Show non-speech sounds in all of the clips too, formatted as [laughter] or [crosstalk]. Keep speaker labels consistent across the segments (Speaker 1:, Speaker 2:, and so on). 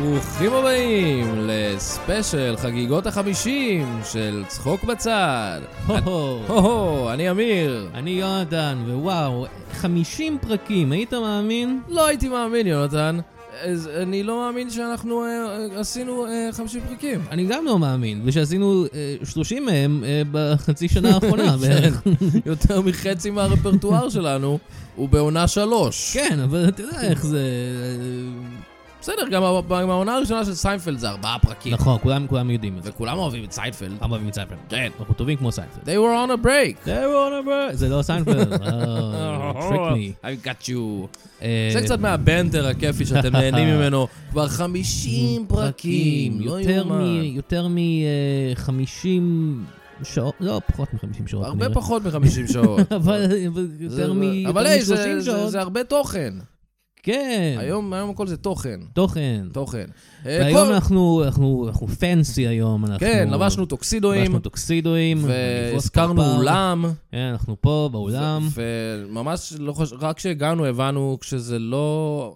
Speaker 1: ברוכים הבאים לספיישל חגיגות החמישים של צחוק בצד.
Speaker 2: הו-הו.
Speaker 1: הו-הו, אני אמיר.
Speaker 2: אני יונתן, ווואו, 50 פרקים, היית מאמין?
Speaker 1: לא הייתי מאמין, יונתן. אז אני לא מאמין שאנחנו אה, אה, עשינו אה, 50 פרקים. [laughs]
Speaker 2: אני גם לא מאמין, ושעשינו אה, 30 מהם אה, בחצי שנה
Speaker 1: [laughs] כן.
Speaker 2: האחרונה בערך.
Speaker 1: יותר מחצי מהרפרטואר שלנו הוא בעונה שלוש.
Speaker 2: כן, אבל אתה יודע איך זה... אה,
Speaker 1: בסדר, גם ה- גם העונה הראשונה של סיינפלד זה ארבעה פרקים.
Speaker 2: נכון, כולם כולם יודעים את זה.
Speaker 1: וכולם אוהבים את סיינפלד.
Speaker 2: כולם אוהבים את סיינפלד.
Speaker 1: כן.
Speaker 2: אנחנו טובים כמו סיינפלד.
Speaker 1: They were on a break.
Speaker 2: [laughs]
Speaker 1: אה,
Speaker 2: זה לא
Speaker 1: [laughs]
Speaker 2: אה, סיינפלד. טריק מי.
Speaker 1: I got you.
Speaker 2: אה,
Speaker 1: זה קצת מהבנדר הכיפי שאתם
Speaker 2: [laughs]
Speaker 1: נהנים ממנו. כבר 50 פרקים, לא יאומן.
Speaker 2: יותר מ-50 שעות, לא, פחות מ-50 שעות.
Speaker 1: הרבה
Speaker 2: נראה.
Speaker 1: פחות מ-50 שעות.
Speaker 2: [laughs] אבל אבל
Speaker 1: זה-
Speaker 2: יותר מ-
Speaker 1: אבל
Speaker 2: יותר
Speaker 1: היי, זה-
Speaker 2: מ-30
Speaker 1: זה-
Speaker 2: שעות.
Speaker 1: זה הרבה תוכן.
Speaker 2: כן.
Speaker 1: היום היום הכל זה תוכן.
Speaker 2: תוכן.
Speaker 1: תוכן. אה,
Speaker 2: והיום
Speaker 1: כל-
Speaker 2: אנחנו, אנחנו, אנחנו פנסי היום, אנחנו...
Speaker 1: כן, לבשנו טוקסידואים,
Speaker 2: לבשנו טוקסידואים, נפרוס
Speaker 1: והזכרנו
Speaker 2: פרפר.
Speaker 1: אולם.
Speaker 2: כן, אנחנו פה באולם.
Speaker 1: וממש לא חושב, רק כשהגענו הבנו שזה לא...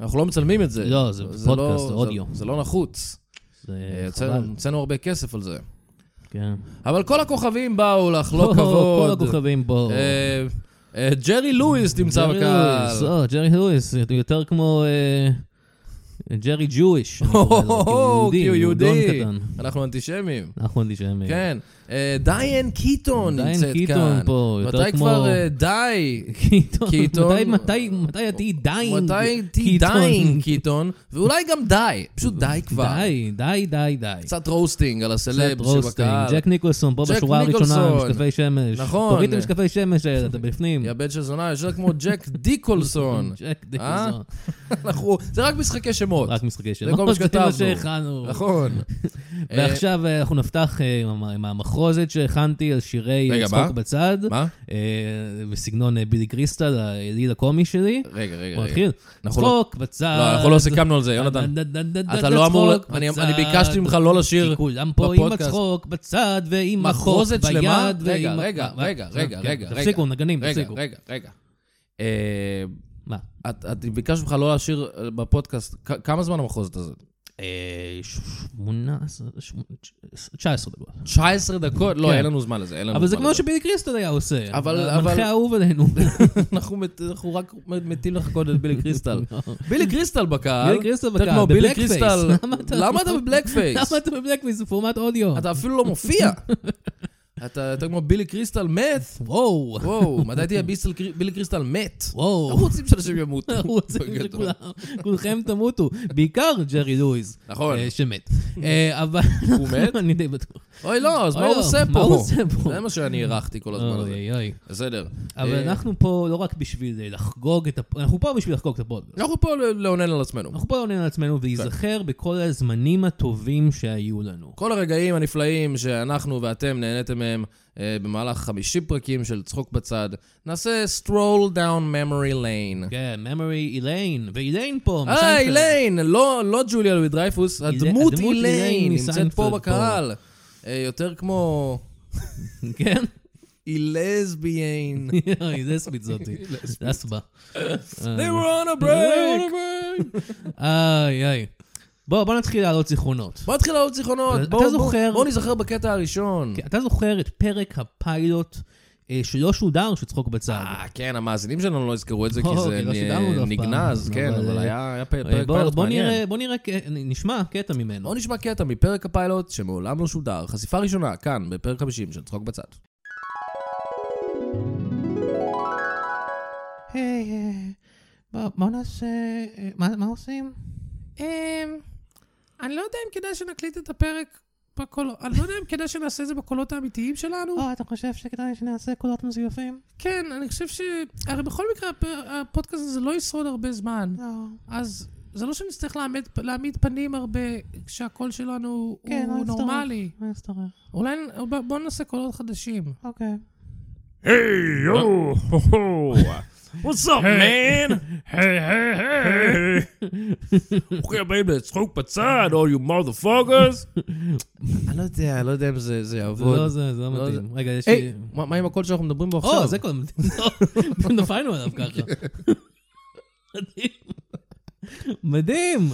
Speaker 1: אנחנו לא מצלמים את זה.
Speaker 2: לא, זה פודקאסט, זה אודיו.
Speaker 1: זה לא נחוץ. אה,
Speaker 2: זה
Speaker 1: הוצאנו
Speaker 2: חבל.
Speaker 1: הוצאנו הרבה כסף על זה.
Speaker 2: כן.
Speaker 1: אבל כל הכוכבים באו לך, לא
Speaker 2: או, [laughs] כל
Speaker 1: כבוד.
Speaker 2: הכוכבים פה.
Speaker 1: אה, אה, ג'רי לואיס נמצא
Speaker 2: ג'רי לואיס, אה.
Speaker 1: בקהל.
Speaker 2: או, ג'רי לואיס, זה יותר כמו אה, ג'רי ג'ויש. אני קורא לו,
Speaker 1: או, [laughs]
Speaker 2: כאילו
Speaker 1: כי הוא יהודי.
Speaker 2: יהודון קטן. נכון,
Speaker 1: אנחנו אנטישמים.
Speaker 2: אנחנו אנטישמים.
Speaker 1: כן. אה, דיין קיטון
Speaker 2: דיין
Speaker 1: נמצאת כאן.
Speaker 2: קיטון פה, יותר
Speaker 1: מתי
Speaker 2: כמו-
Speaker 1: כבר אה, די?
Speaker 2: [laughs] קיטון.
Speaker 1: קיטון.
Speaker 2: מתי- מתי מתי את אי דיינג?
Speaker 1: מתי די
Speaker 2: קיטון.
Speaker 1: דיין קיטון? ואולי גם די. פשוט די כבר.
Speaker 2: די, די, די, די.
Speaker 1: קצת רוסטינג על
Speaker 2: סט
Speaker 1: הסלב
Speaker 2: רוסטינג,
Speaker 1: שבקהל.
Speaker 2: ג'ק ניקולסון פה
Speaker 1: ג'ק
Speaker 2: בשורה הראשונה,
Speaker 1: ניקולסון.
Speaker 2: משקפי שמש.
Speaker 1: נכון.
Speaker 2: תוריד את המשקפי שמש האלה, אתה בפנים.
Speaker 1: יבד של זונה, יושב כמו ג'ק
Speaker 2: [laughs]
Speaker 1: דיקולסון.
Speaker 2: ג'ק ניקולסון.
Speaker 1: אנחנו... זה רק משחקי שמות.
Speaker 2: רק משחקי שמש.
Speaker 1: כל מה
Speaker 2: זה
Speaker 1: שכתבנו.
Speaker 2: מה שהכנו.
Speaker 1: נכון. אה,
Speaker 2: ועכשיו אה, אנחנו נפתח אה, עם ה- עם המחרוזת שהכנתי על שירי
Speaker 1: רגע,
Speaker 2: אה,
Speaker 1: מה?
Speaker 2: צחוק בצד.
Speaker 1: מה?
Speaker 2: אה, בסגנון אה, בילי קריסטל, היליד הקומי שלי.
Speaker 1: רגע, רגע,
Speaker 2: הוא
Speaker 1: רגע.
Speaker 2: מתחיל.
Speaker 1: אה, אנחנו לא-
Speaker 2: צחוק בצד.
Speaker 1: לא, אנחנו לא סיכמנו על זה, יונתן.
Speaker 2: ד- ד- ד- ד-
Speaker 1: אתה
Speaker 2: ד-
Speaker 1: לא אמור...
Speaker 2: צחוק
Speaker 1: ל- אני
Speaker 2: בצד.
Speaker 1: אני ביקשתי ממך לא לשיר
Speaker 2: כי כולם פה עם
Speaker 1: בפודקאסט.
Speaker 2: הצחוק בצד ועם החוק
Speaker 1: מחרוזת
Speaker 2: ביד.
Speaker 1: שלמה? רגע,
Speaker 2: ועם-
Speaker 1: רגע,
Speaker 2: מה?
Speaker 1: רגע,
Speaker 2: כן,
Speaker 1: רגע,
Speaker 2: כן.
Speaker 1: רגע, רגע.
Speaker 2: תפסיקו, נגנים,
Speaker 1: רגע,
Speaker 2: תפסיקו.
Speaker 1: רגע, רגע. אה,
Speaker 2: מה?
Speaker 1: את- את- ביקשתי ממך לא לשיר אה, בפודקאסט. כ- כמה זמן המחוזת הזאת?
Speaker 2: אה, ש- שמונה עשרה, שמונה- תש- תשע עשרה דקות.
Speaker 1: 19 דקות? לא,
Speaker 2: כן.
Speaker 1: אין לנו זמן לזה, אין לנו זמן
Speaker 2: אבל זה
Speaker 1: לזה.
Speaker 2: כמו שבילי קריסטל היה עושה.
Speaker 1: אבל- אבל-
Speaker 2: המנחה האהוב עלינו.
Speaker 1: אנחנו מת- אנחנו רק מתים לחכות את בילי [laughs] קריסטל. לא. בילי קריסטל בקהל.
Speaker 2: בילי קריסטל
Speaker 1: אתה
Speaker 2: בקהל,
Speaker 1: כמו בילי
Speaker 2: בבלק פייס.
Speaker 1: קריסטל.
Speaker 2: למה אתה-
Speaker 1: למה אתה בבלק פייס?
Speaker 2: למה אתה בבלקוויז? זה פורמט אודיו.
Speaker 1: אתה אפילו לא
Speaker 2: [laughs]
Speaker 1: מופיע. אתה אתה כמו בילי קריסטל מת.
Speaker 2: וואו.
Speaker 1: וואו, מתי תהיה ביסל- בילי קריסטל מת? אנחנו
Speaker 2: [laughs] וואו.
Speaker 1: רוצים שאנשים ימותו.
Speaker 2: אנחנו רוצים
Speaker 1: בגדול.
Speaker 2: שכולם, כולכם תמותו. בעיקר ג'רי לואיז.
Speaker 1: נכון.
Speaker 2: אה, שמת. אה, אבל...
Speaker 1: הוא מת?
Speaker 2: [laughs] אני די בטוח.
Speaker 1: אוי, לא, אז מה
Speaker 2: אוי,
Speaker 1: הוא
Speaker 2: לא,
Speaker 1: עושה
Speaker 2: מה הוא
Speaker 1: פה?
Speaker 2: עושה פה?
Speaker 1: זה מה שאני הערכתי כל הזמן הזה.
Speaker 2: אוי אוי.
Speaker 1: בסדר.
Speaker 2: אבל
Speaker 1: אה,
Speaker 2: אנחנו פה לא רק בשביל אה, לחגוג את הפ... אנחנו פה בשביל לחגוג את הפודקאסט.
Speaker 1: אנחנו פה ל- לאונן על עצמנו.
Speaker 2: אנחנו פה לעונן על עצמנו
Speaker 1: כן.
Speaker 2: ולהיזכר בכל הזמנים הטובים שהיו לנו.
Speaker 1: כל הרגעים הנפלאים שאנחנו ואתם נהניתם מהם אה, במהלך 50 פרקים של צחוק בצד, נעשה stroll down memory lane.
Speaker 2: כן, memory איליין, ואיליין פה,
Speaker 1: אה,
Speaker 2: מסיינפלד.
Speaker 1: איליין! לא לא ג'וליה לוי דרייפוס, הדמות
Speaker 2: הדמות
Speaker 1: איליין
Speaker 2: איליין
Speaker 1: נמצאת פה
Speaker 2: מסיינפלד
Speaker 1: בקהל. אה, יותר
Speaker 2: [laughs]
Speaker 1: כמו
Speaker 2: [laughs] כן? [laughs]
Speaker 1: אילסביין.
Speaker 2: אוי, לסבית זאתי.
Speaker 1: [laughs]
Speaker 2: לסבה. אה.
Speaker 1: They were on a
Speaker 2: They
Speaker 1: break!
Speaker 2: איי, איי. בוא, בוא נתחיל להעלות זיכרונות.
Speaker 1: בוא נתחיל לעלות זיכרונות.
Speaker 2: אתה
Speaker 1: בוא- בוא-
Speaker 2: זוכר-
Speaker 1: בוא נזכר בקטע הראשון.
Speaker 2: כן, אתה זוכר את פרק הפיילוט אה, שלא שודר, שצחוק בצד.
Speaker 1: אה, כן, המאזינים שלנו לא יזכרו את זה, כי
Speaker 2: או,
Speaker 1: זה
Speaker 2: כי לא
Speaker 1: נ-
Speaker 2: שידרנו אותו אף
Speaker 1: נגנז,
Speaker 2: פעם.
Speaker 1: כן,
Speaker 2: אבל,
Speaker 1: אבל
Speaker 2: אה,
Speaker 1: היה היה פ-
Speaker 2: אה,
Speaker 1: פרק
Speaker 2: בוא-
Speaker 1: פיילוט
Speaker 2: בוא
Speaker 1: מעניין.
Speaker 2: נראה, בוא נראה, ק- נשמע קטע ממנו.
Speaker 1: בואו נשמע קטע מפרק הפיילוט שמעולם לא שודר, חשיפה ראשונה, כאן, בפרק 50 של צחוק בצד.
Speaker 2: היי, אה, בוא נעשה... אה, מה עושים?
Speaker 3: אמ, אני לא יודע אם כדאי שנקליט את הפרק בקולות, אני לא יודע אם כדאי שנעשה את זה בקולות האמיתיים שלנו.
Speaker 2: אתה חושב שכדאי שנעשה קולות מזויפים?
Speaker 3: כן, אני חושב ש... הרי בכל מקרה הפ- הפודקאסט הזה לא ישרוד הרבה זמן,
Speaker 2: לא.
Speaker 3: אז זה לא שנצטרך להעמיד, להעמיד פנים הרבה כשהקול שלנו
Speaker 2: כן, לא
Speaker 3: הוא
Speaker 2: נצטרך.
Speaker 3: נורמלי.
Speaker 2: מה נצטרך?
Speaker 3: אולי נ- ב- בואו נעשה קולות חדשים.
Speaker 2: אוקיי.
Speaker 4: Hey
Speaker 1: לא.
Speaker 4: yo, ho, ho. what's up, man? Hey hey hey.
Speaker 1: אוקיי,
Speaker 4: Okay, baby, let's hope outside, all you motherfuckers.
Speaker 1: [laughs] אני לא יודע, לא יודע אם זה זה
Speaker 2: זה
Speaker 1: יעבוד.
Speaker 2: לא זה, זה לא
Speaker 1: לא
Speaker 2: מתאים. רגע, יש
Speaker 1: היי,
Speaker 2: לי...
Speaker 1: מה מה עם הקול שאנחנו מדברים בו עכשיו?
Speaker 2: או, זה קודם. לא, נפלנו עליו ככה.
Speaker 1: כן.
Speaker 2: מדהים. מדהים.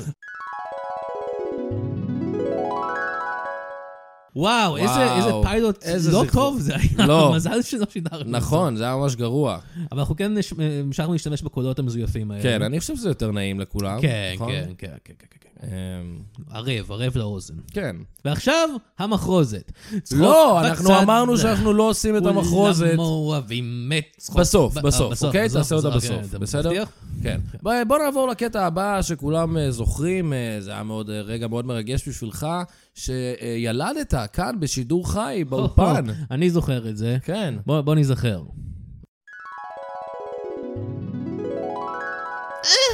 Speaker 2: וואו, איזה
Speaker 1: וואו,
Speaker 2: איזה פיילוט
Speaker 1: איזה
Speaker 2: לא
Speaker 1: זכרו-
Speaker 2: טוב זה היה.
Speaker 1: לא.
Speaker 2: מזל שלא שידרנו.
Speaker 1: נכון, זה היה ממש גרוע.
Speaker 2: אבל אנחנו כן נש- המשכנו להשתמש בקולות המזויפים האלה.
Speaker 1: כן, אני חושב שזה יותר נעים לכולם.
Speaker 2: כן,
Speaker 1: נכון?
Speaker 2: כן, כן, כן, כן, כן.
Speaker 1: אמ,
Speaker 2: ערב, ערב לאוזן.
Speaker 1: כן.
Speaker 2: ועכשיו, המחרוזת. צחוק
Speaker 1: לא,
Speaker 2: בצד,
Speaker 1: אנחנו אמרנו שאנחנו לא עושים את המחרוזת.
Speaker 2: כולם מאוהבים מצחוק.
Speaker 1: בסוף,
Speaker 2: ב-
Speaker 1: בסוף,
Speaker 2: אה,
Speaker 1: אוקיי? תעשה אותה
Speaker 2: אוקיי,
Speaker 1: בסוף,
Speaker 2: אתה
Speaker 1: בסדר?
Speaker 2: מבטיח?
Speaker 1: כן. בוא בוא נעבור לקטע הבא שכולם אה, זוכרים, אה, זה היה מאוד, אה, רגע מאוד מרגש בשבילך, שילדת כאן בשידור חי [laughs] באולפן.
Speaker 2: אני זוכר את זה.
Speaker 1: כן.
Speaker 2: בוא בוא ניזכר.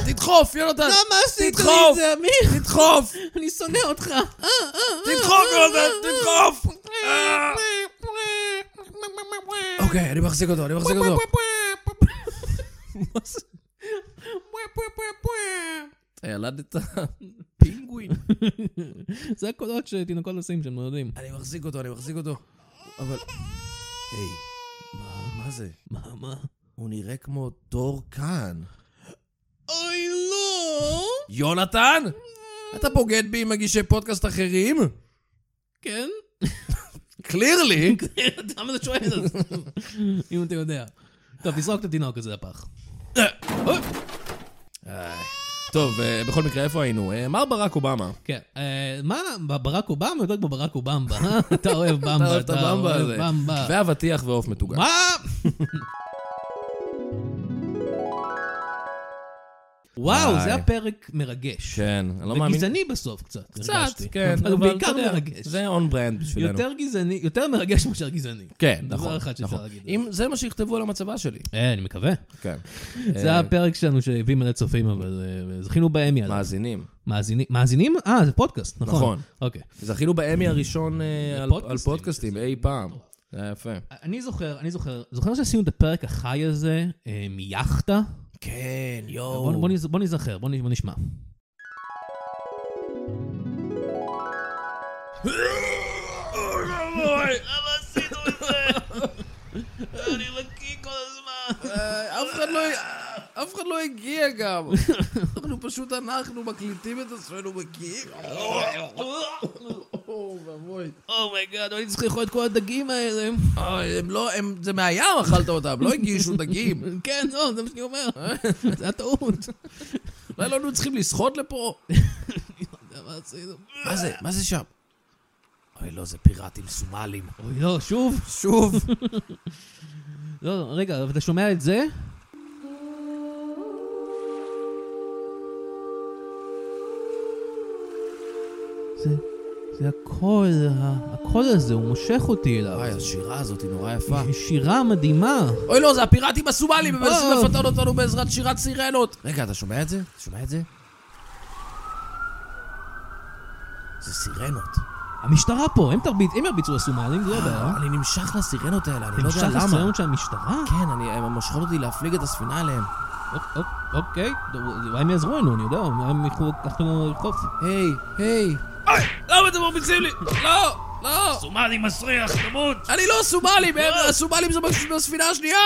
Speaker 1: תדחוף, יונתן!
Speaker 2: עשית
Speaker 1: לי את זה,
Speaker 2: אמיר?
Speaker 1: תדחוף!
Speaker 2: [laughs] אני שונא אותך. [laughs]
Speaker 1: תדחוף, יונתן! תדחוף! אה. אוקיי, אני מחזיק אותו, אני מחזיק אותו. אתה ילדת פינגווין.
Speaker 2: זה הקולות שתינוקות עושים שהם לא נולדים.
Speaker 1: אני מחזיק אותו, אני מחזיק אותו. אבל... היי, מה- מה זה?
Speaker 2: מה, מה?
Speaker 1: הוא נראה כמו דור כאן.
Speaker 2: אוי, לא!
Speaker 1: יונתן? אתה בוגד בי עם מגישי פודקאסט אחרים?
Speaker 2: כן? [laughs]
Speaker 1: קלירלי.
Speaker 2: למה [laughs] אתה שואל? אם אתה יודע. טוב, תזרוק את התינוק הזה לפח.
Speaker 1: טוב, אה, בכל מקרה, איפה היינו? אה, מר ברק אובמה.
Speaker 2: כן. אה, מה, בברק אובמה? [laughs] יותר בברק אובמבה, אה? אתה אוהב במבה.
Speaker 1: אתה אוהב את הבמבה הזה.
Speaker 2: במבה.
Speaker 1: ואבטיח ועוף מטוגן. [laughs]
Speaker 2: מה? וואו,
Speaker 1: וואי.
Speaker 2: זה היה פרק מרגש.
Speaker 1: כן, אני לא מאמין.
Speaker 2: וגזעני בסוף קצת.
Speaker 1: קצת,
Speaker 2: הרגשתי.
Speaker 1: כן.
Speaker 2: אבל הוא
Speaker 1: אבל
Speaker 2: בעיקר
Speaker 1: אתה יודע,
Speaker 2: מרגש.
Speaker 1: זה און ברנד בשבילנו.
Speaker 2: יותר גזעני, יותר מרגש מאשר גזעני.
Speaker 1: כן,
Speaker 2: דבר
Speaker 1: נכון.
Speaker 2: אחד שאפשר
Speaker 1: נכון.
Speaker 2: להגיד.
Speaker 1: אם זה מה שיכתבו על המצבה [laughs] שלי.
Speaker 2: אה, אני מקווה.
Speaker 1: כן.
Speaker 2: זה הפרק שלנו שהביא מלא צופים, אבל אה, זכינו באמי עליו.
Speaker 1: מאזינים.
Speaker 2: מאזינים? מאזינים? אה, זה פודקאסט, נכון.
Speaker 1: נכון.
Speaker 2: אוקיי.
Speaker 1: זכינו באמי הראשון [laughs] אה, על- על
Speaker 2: לפודקאסטים,
Speaker 1: פודקאסטים
Speaker 2: שזה
Speaker 1: אי פעם. זה היה יפה.
Speaker 2: אני זוכר, אני זוכר, זוכר שעשינו את הפרק החי הזה אה, מיאכטה?
Speaker 1: כן,
Speaker 2: בוא,
Speaker 1: יואו.
Speaker 2: בוא, נז- בוא נזכר, בוא, נ- בוא נשמע.
Speaker 1: אה, אף אחד לא... אף אחד לא הגיע [laughs] גם. אנחנו פשוט אנחנו מקליטים את עצמנו בקיר. אוי ואבוי.
Speaker 2: אומייגאד, אני צריך לאכול את לא כל הדגים האלה.
Speaker 1: אוי, הם לא, הם, זה מהים אכלת אותם, לא הגישו דגים.
Speaker 2: [laughs] כן, לא, זה מה שאני
Speaker 1: [laughs]
Speaker 2: אומר. זה היה טעות.
Speaker 1: אולי לא היינו צריכים לשחות
Speaker 2: [laughs]
Speaker 1: לפה?
Speaker 2: מה עשינו?
Speaker 1: מה זה? מה זה שם? אוי, לא, זה פיראטים סומלים.
Speaker 2: אוי, לא, שוב?
Speaker 1: שוב.
Speaker 2: [laughs] לא, לא, רגע, אבל אתה שומע את זה? זה, זה הקול, ה- הקול הזה, הוא מושך אותי אליו.
Speaker 1: אוי, השירה הזאת היא נורא יפה.
Speaker 2: היא שירה מדהימה.
Speaker 1: אוי, לא, זה הפיראטים הסומלים, הם מנסים
Speaker 2: אוי.
Speaker 1: לפתות אותנו בעזרת שירת סירנות. אה. רגע, אתה שומע את זה? אתה שומע את זה? זה סירנות.
Speaker 2: המשטרה פה, הם תרביץ, הם ירביצו לסומלים, זה לא בעיה.
Speaker 1: אני נמשך לסירנות האלה, אה, אני
Speaker 2: זה
Speaker 1: לא יודע
Speaker 2: נמשך
Speaker 1: למה.
Speaker 2: לסרט של המשטרה?
Speaker 1: כן, אני- הן מושכות אותי להפליג את הספינה עליהם.
Speaker 2: אופ- אופ- אוקיי, טוב, אולי הם יעזרו לנו, אני יודע, אולי הם ילכו לקחת לנו לחוף.
Speaker 1: היי, היי. למה אתם מרביצים לי? לא, לא.
Speaker 4: סומלי מסריח, תמות!
Speaker 1: אני לא סומלים, הם- הסומלים זה בש- בספינה השנייה!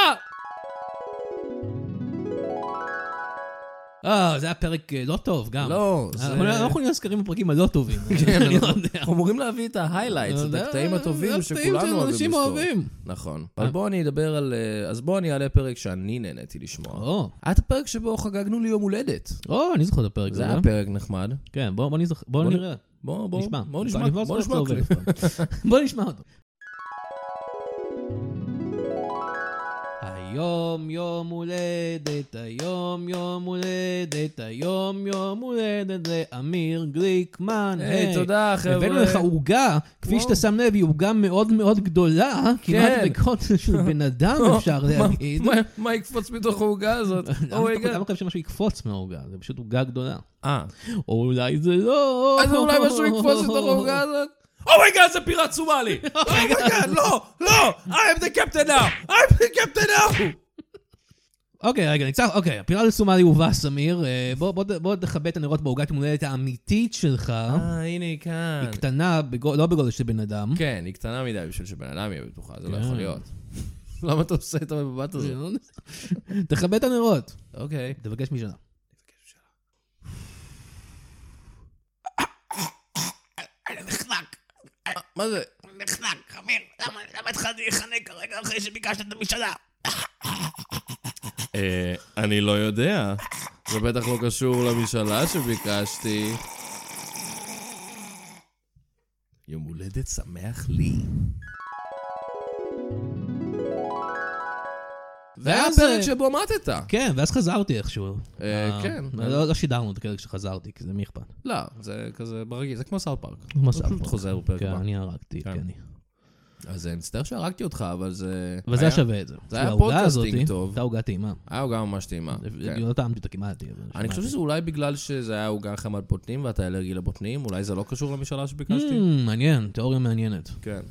Speaker 2: אה, זה היה פרק אה, לא טוב גם.
Speaker 1: לא, זה-
Speaker 2: אנחנו אנחנו נזכרים בפרקים הלא טובים.
Speaker 1: [laughs] כן,
Speaker 2: אני לא
Speaker 1: אנחנו-
Speaker 2: יודע.
Speaker 1: אנחנו אמורים להביא את ההיילייטס, את
Speaker 2: אתה יודע,
Speaker 1: לא הקטעים
Speaker 2: זה
Speaker 1: הטובים
Speaker 2: הקטעים
Speaker 1: שכולנו אוהבים
Speaker 2: שאנשים
Speaker 1: לזכור.
Speaker 2: אוהבים.
Speaker 1: נכון. אבל בואו אני אדבר על... אה, אז בואו אני אעלה פרק שאני נהניתי לשמוע.
Speaker 2: או,
Speaker 1: היה את הפרק שבו חגגנו לי יום הולדת.
Speaker 2: או, אני זוכר את הפרק הזה.
Speaker 1: זה היה
Speaker 2: אה?
Speaker 1: פרק נחמד.
Speaker 2: כן, בוא בוא נזכר, בוא
Speaker 1: בוא נ-
Speaker 2: נראה.
Speaker 1: בואו בואו-
Speaker 2: נשמע.
Speaker 1: בואו נשמע.
Speaker 2: אני כבר
Speaker 1: בואו
Speaker 2: זוכר
Speaker 1: נשמע.
Speaker 2: איך זה [laughs] עובד פעם. בוא נשמע אותו. היום יום הולדת, היום יום הולדת, היום יום הולדת לאמיר גליקמן.
Speaker 1: היי, תודה, חבר'ה.
Speaker 2: הבאנו לך עוגה, כפי
Speaker 1: וואו. כן.
Speaker 2: שאתה שם לב, היא עוגה מאוד מאוד גדולה, כמעט בגודל של בן
Speaker 1: [laughs]
Speaker 2: אדם אפשר להגיד.
Speaker 1: מה- Oh מה יקפוץ מתוך העוגה הזאת?
Speaker 2: [laughs] למה
Speaker 1: אוי,
Speaker 2: אתה
Speaker 1: גאד.
Speaker 2: למה אתה חושב שמשהו יקפוץ מהעוגה? זה פשוט עוגה גדולה.
Speaker 1: אה.
Speaker 2: או אולי זה לא...
Speaker 1: אז אולי משהו יקפוץ לתוך העוגה הזאת? אומייגאד זה פיראט
Speaker 2: [laughs]
Speaker 1: סומלי!
Speaker 2: Oh
Speaker 1: אומייגאד, לא! לא! I am the captain now! I am the captain now!
Speaker 2: אוקיי, רגע, ניצח, אוקיי, הפיראט הסומלי הובס, אמיר. אה, בוא- בוא ת- בוא תכבה את הנרות בעוגת יום הולדת האמיתית שלך.
Speaker 1: אה, הנה היא כאן.
Speaker 2: היא קטנה, בגו- לא בגודל של בן אדם.
Speaker 1: כן, היא קטנה מדי בשביל שבן אדם יהיה בתוכה, זה לא
Speaker 2: כן.
Speaker 1: יכול להיות. [laughs] למה אתה עושה את המבט הזה?
Speaker 2: [laughs] תכבה את הנרות.
Speaker 1: אוקיי.
Speaker 2: תבקש משנה.
Speaker 1: מה זה?
Speaker 5: נחנק, אמיר, למה למה התחלתי להיחנק כרגע אחרי שביקשת את המשאלה?
Speaker 1: אה, אני לא יודע. זה בטח לא קשור למשאלה שביקשתי. יום הולדת שמח לי. זה היה
Speaker 2: ואז,
Speaker 1: הפרק
Speaker 2: אה,
Speaker 1: שבו מתת.
Speaker 2: כן, ואז חזרתי איכשהו.
Speaker 1: אה, כן.
Speaker 2: לא לא שידרנו את הקרק שחזרתי, כי זה מי אכפת.
Speaker 1: לא, זה כזה ברגיל, זה כמו סאוט פארק.
Speaker 2: כמו
Speaker 1: זה פשוט
Speaker 2: סאוט
Speaker 1: חוזר בפרק
Speaker 2: כן,
Speaker 1: הבא.
Speaker 2: אני הרגתי,
Speaker 1: כן.
Speaker 2: כן. אני.
Speaker 1: אז אה, מצטער שהרגתי אותך, אבל זה...
Speaker 2: אבל זה
Speaker 1: היה-
Speaker 2: היה שווה את זה.
Speaker 1: זה היה
Speaker 2: כי העוגה
Speaker 1: פודקאסטינג
Speaker 2: הזאת,
Speaker 1: טוב.
Speaker 2: הייתה עוגה טעימה.
Speaker 1: היה עוגה ממש טעימה. כן.
Speaker 2: לא טעמתי אותה כמעט. אבל
Speaker 1: אני חושב
Speaker 2: שמעתי.
Speaker 1: שזה אולי בגלל שזה היה עוגה חמת בוטנים ואתה אלרגי לבוטנים, אולי זה לא קשור למשאלה שביקשתי?
Speaker 2: Hmm, מעניין, תיאוריה מעניינת.
Speaker 1: כן.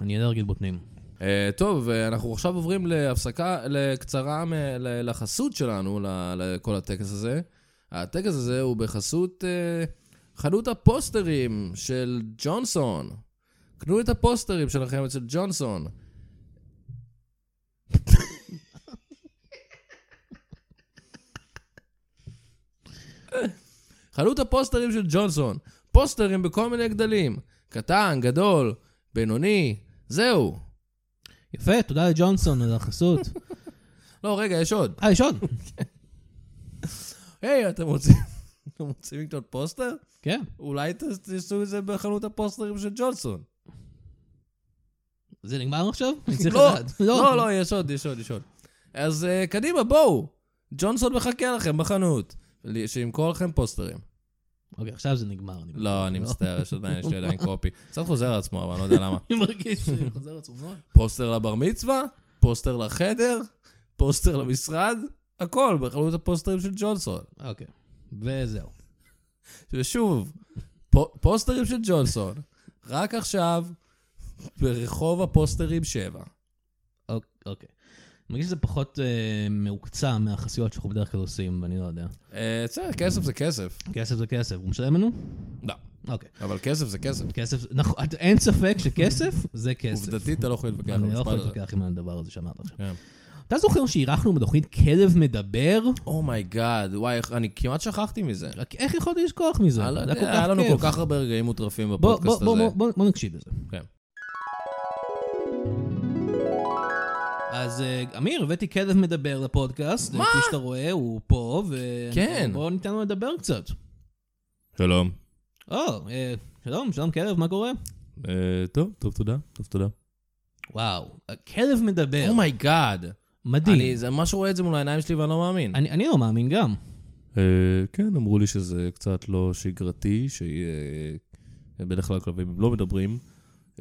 Speaker 2: אני אלרגית בוטנים.
Speaker 1: אה, טוב, אה, אנחנו עכשיו עוברים להפסקה קצרה מ- ל- לחסות שלנו, ל- לכל הטקס הזה. הטקס הזה הוא בחסות אה, חנות הפוסטרים של ג'ונסון. קנו את הפוסטרים שלכם אצל ג'ונסון. חנות הפוסטרים של ג'ונסון. פוסטרים בכל מיני גדלים. קטן, גדול, בינוני, זהו.
Speaker 2: יפה, תודה לג'ונסון על החסות.
Speaker 1: [laughs] לא, רגע, יש עוד.
Speaker 2: אה, יש עוד?
Speaker 1: היי, אתם רוצים... [laughs] אתם רוצים לקנות פוסטר?
Speaker 2: כן.
Speaker 1: אולי ת- תעשו את זה בחנות הפוסטרים של ג'ונסון.
Speaker 2: זה נגמר עכשיו? אני צריך
Speaker 1: לא,
Speaker 2: לדעת.
Speaker 1: לא, לא, יש עוד, יש עוד, יש עוד. אז אה, קדימה, בואו. ג'ונסון מחכה לכם בחנות. ל- שימכור לכם פוסטרים.
Speaker 2: אוקיי, עכשיו זה נגמר. אני
Speaker 1: לא, אני מצטער, יש עדיין, יש לי עדיין [laughs] קופי. קצת חוזר על עצמו, אבל אני לא יודע למה.
Speaker 2: מרגיש
Speaker 1: [laughs]
Speaker 2: שזה חוזר עצמו מאוד.
Speaker 1: פוסטר לבר מצווה, פוסטר לחדר, פוסטר למשרד, הכל בחנות הפוסטרים של ג'ונסון.
Speaker 2: אוקיי, וזהו.
Speaker 1: ושוב, פו- פוסטרים של ג'ונסון, רק עכשיו, ברחוב הפוסטרים 7.
Speaker 2: אוק- אוקיי. אני מרגיש שזה פחות אה, מעוקצע מהחסויות שאנחנו בדרך כלל עושים, ואני לא יודע.
Speaker 1: אה, בסדר, כסף זה כסף.
Speaker 2: כסף זה כסף, הוא משלם לנו?
Speaker 1: לא,
Speaker 2: אוקיי.
Speaker 1: אבל כסף זה כסף.
Speaker 2: כסף, נכון, את- אין ספק שכסף זה כסף.
Speaker 1: עובדתית אתה לא יכול להתווכח על
Speaker 2: אני לא
Speaker 1: המשפט
Speaker 2: יכול
Speaker 1: הזה.
Speaker 2: להתווכח עם הדבר הזה שאמרת עכשיו.
Speaker 1: כן.
Speaker 2: אתה זוכר שאירחנו בתוכנית כלב מדבר?
Speaker 1: אומייגאד, Oh וואי, איך- אני כמעט שכחתי מזה.
Speaker 2: רק איך יכולתי לשכוח מזה?
Speaker 1: אני כן. לא
Speaker 2: זה
Speaker 1: יודע,
Speaker 2: כל כך
Speaker 1: היה לנו
Speaker 2: כיף.
Speaker 1: כל כך הרבה רגעים מוטרפים
Speaker 2: בוא-
Speaker 1: בפודקאסט
Speaker 2: בוא- בוא-
Speaker 1: הזה.
Speaker 2: בוא- בוא- בוא נקשיב לזה.
Speaker 1: כן.
Speaker 2: אז אה, אמיר, הבאתי כלב מדבר לפודקאסט. מה? כפי שאתה רואה, הוא פה, ו...
Speaker 1: כן.
Speaker 2: בואו ניתן לו לדבר קצת.
Speaker 4: שלום.
Speaker 2: או, אה, שלום, שלום כלב, מה קורה?
Speaker 4: אה, טוב, טוב, תודה. טוב, תודה.
Speaker 2: וואו, הכלב מדבר.
Speaker 1: אומייגאד. Oh אני
Speaker 2: מדהים.
Speaker 1: זה ממש רואה את זה מול העיניים שלי ואני לא מאמין.
Speaker 2: אני אני לא מאמין גם.
Speaker 4: אה, כן, אמרו לי שזה קצת לא שגרתי, שבדרך כלל כלבים לא מדברים.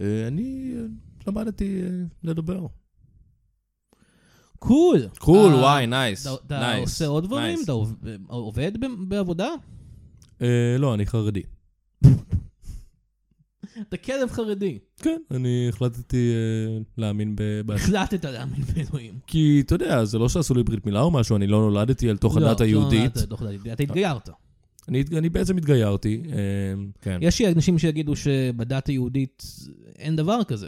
Speaker 4: אה, אני אה, למדתי אה, לדבר.
Speaker 2: קול.
Speaker 1: קול,
Speaker 2: אה,
Speaker 1: וואי, נייס.
Speaker 2: אתה- אתה עושה עוד דברים? אתה עוב- עובד ב- בעבודה?
Speaker 4: אה, לא, אני חרדי.
Speaker 2: אתה כלב חרדי.
Speaker 4: כן, אני החלטתי אה, להאמין ב... ב-
Speaker 2: החלטת להאמין באלוהים.
Speaker 4: כי, אתה יודע, זה לא שעשו לי ברית מילה או משהו, אני לא נולדתי אל תוך
Speaker 2: לא,
Speaker 4: הדת
Speaker 2: לא
Speaker 4: היהודית.
Speaker 2: נולדת לתוך הדת היהודית, אתה התגיירת.
Speaker 4: אני אני בעצם התגיירתי. אה,
Speaker 1: כן.
Speaker 2: יש אנשים שיגידו שבדת היהודית אין דבר כזה.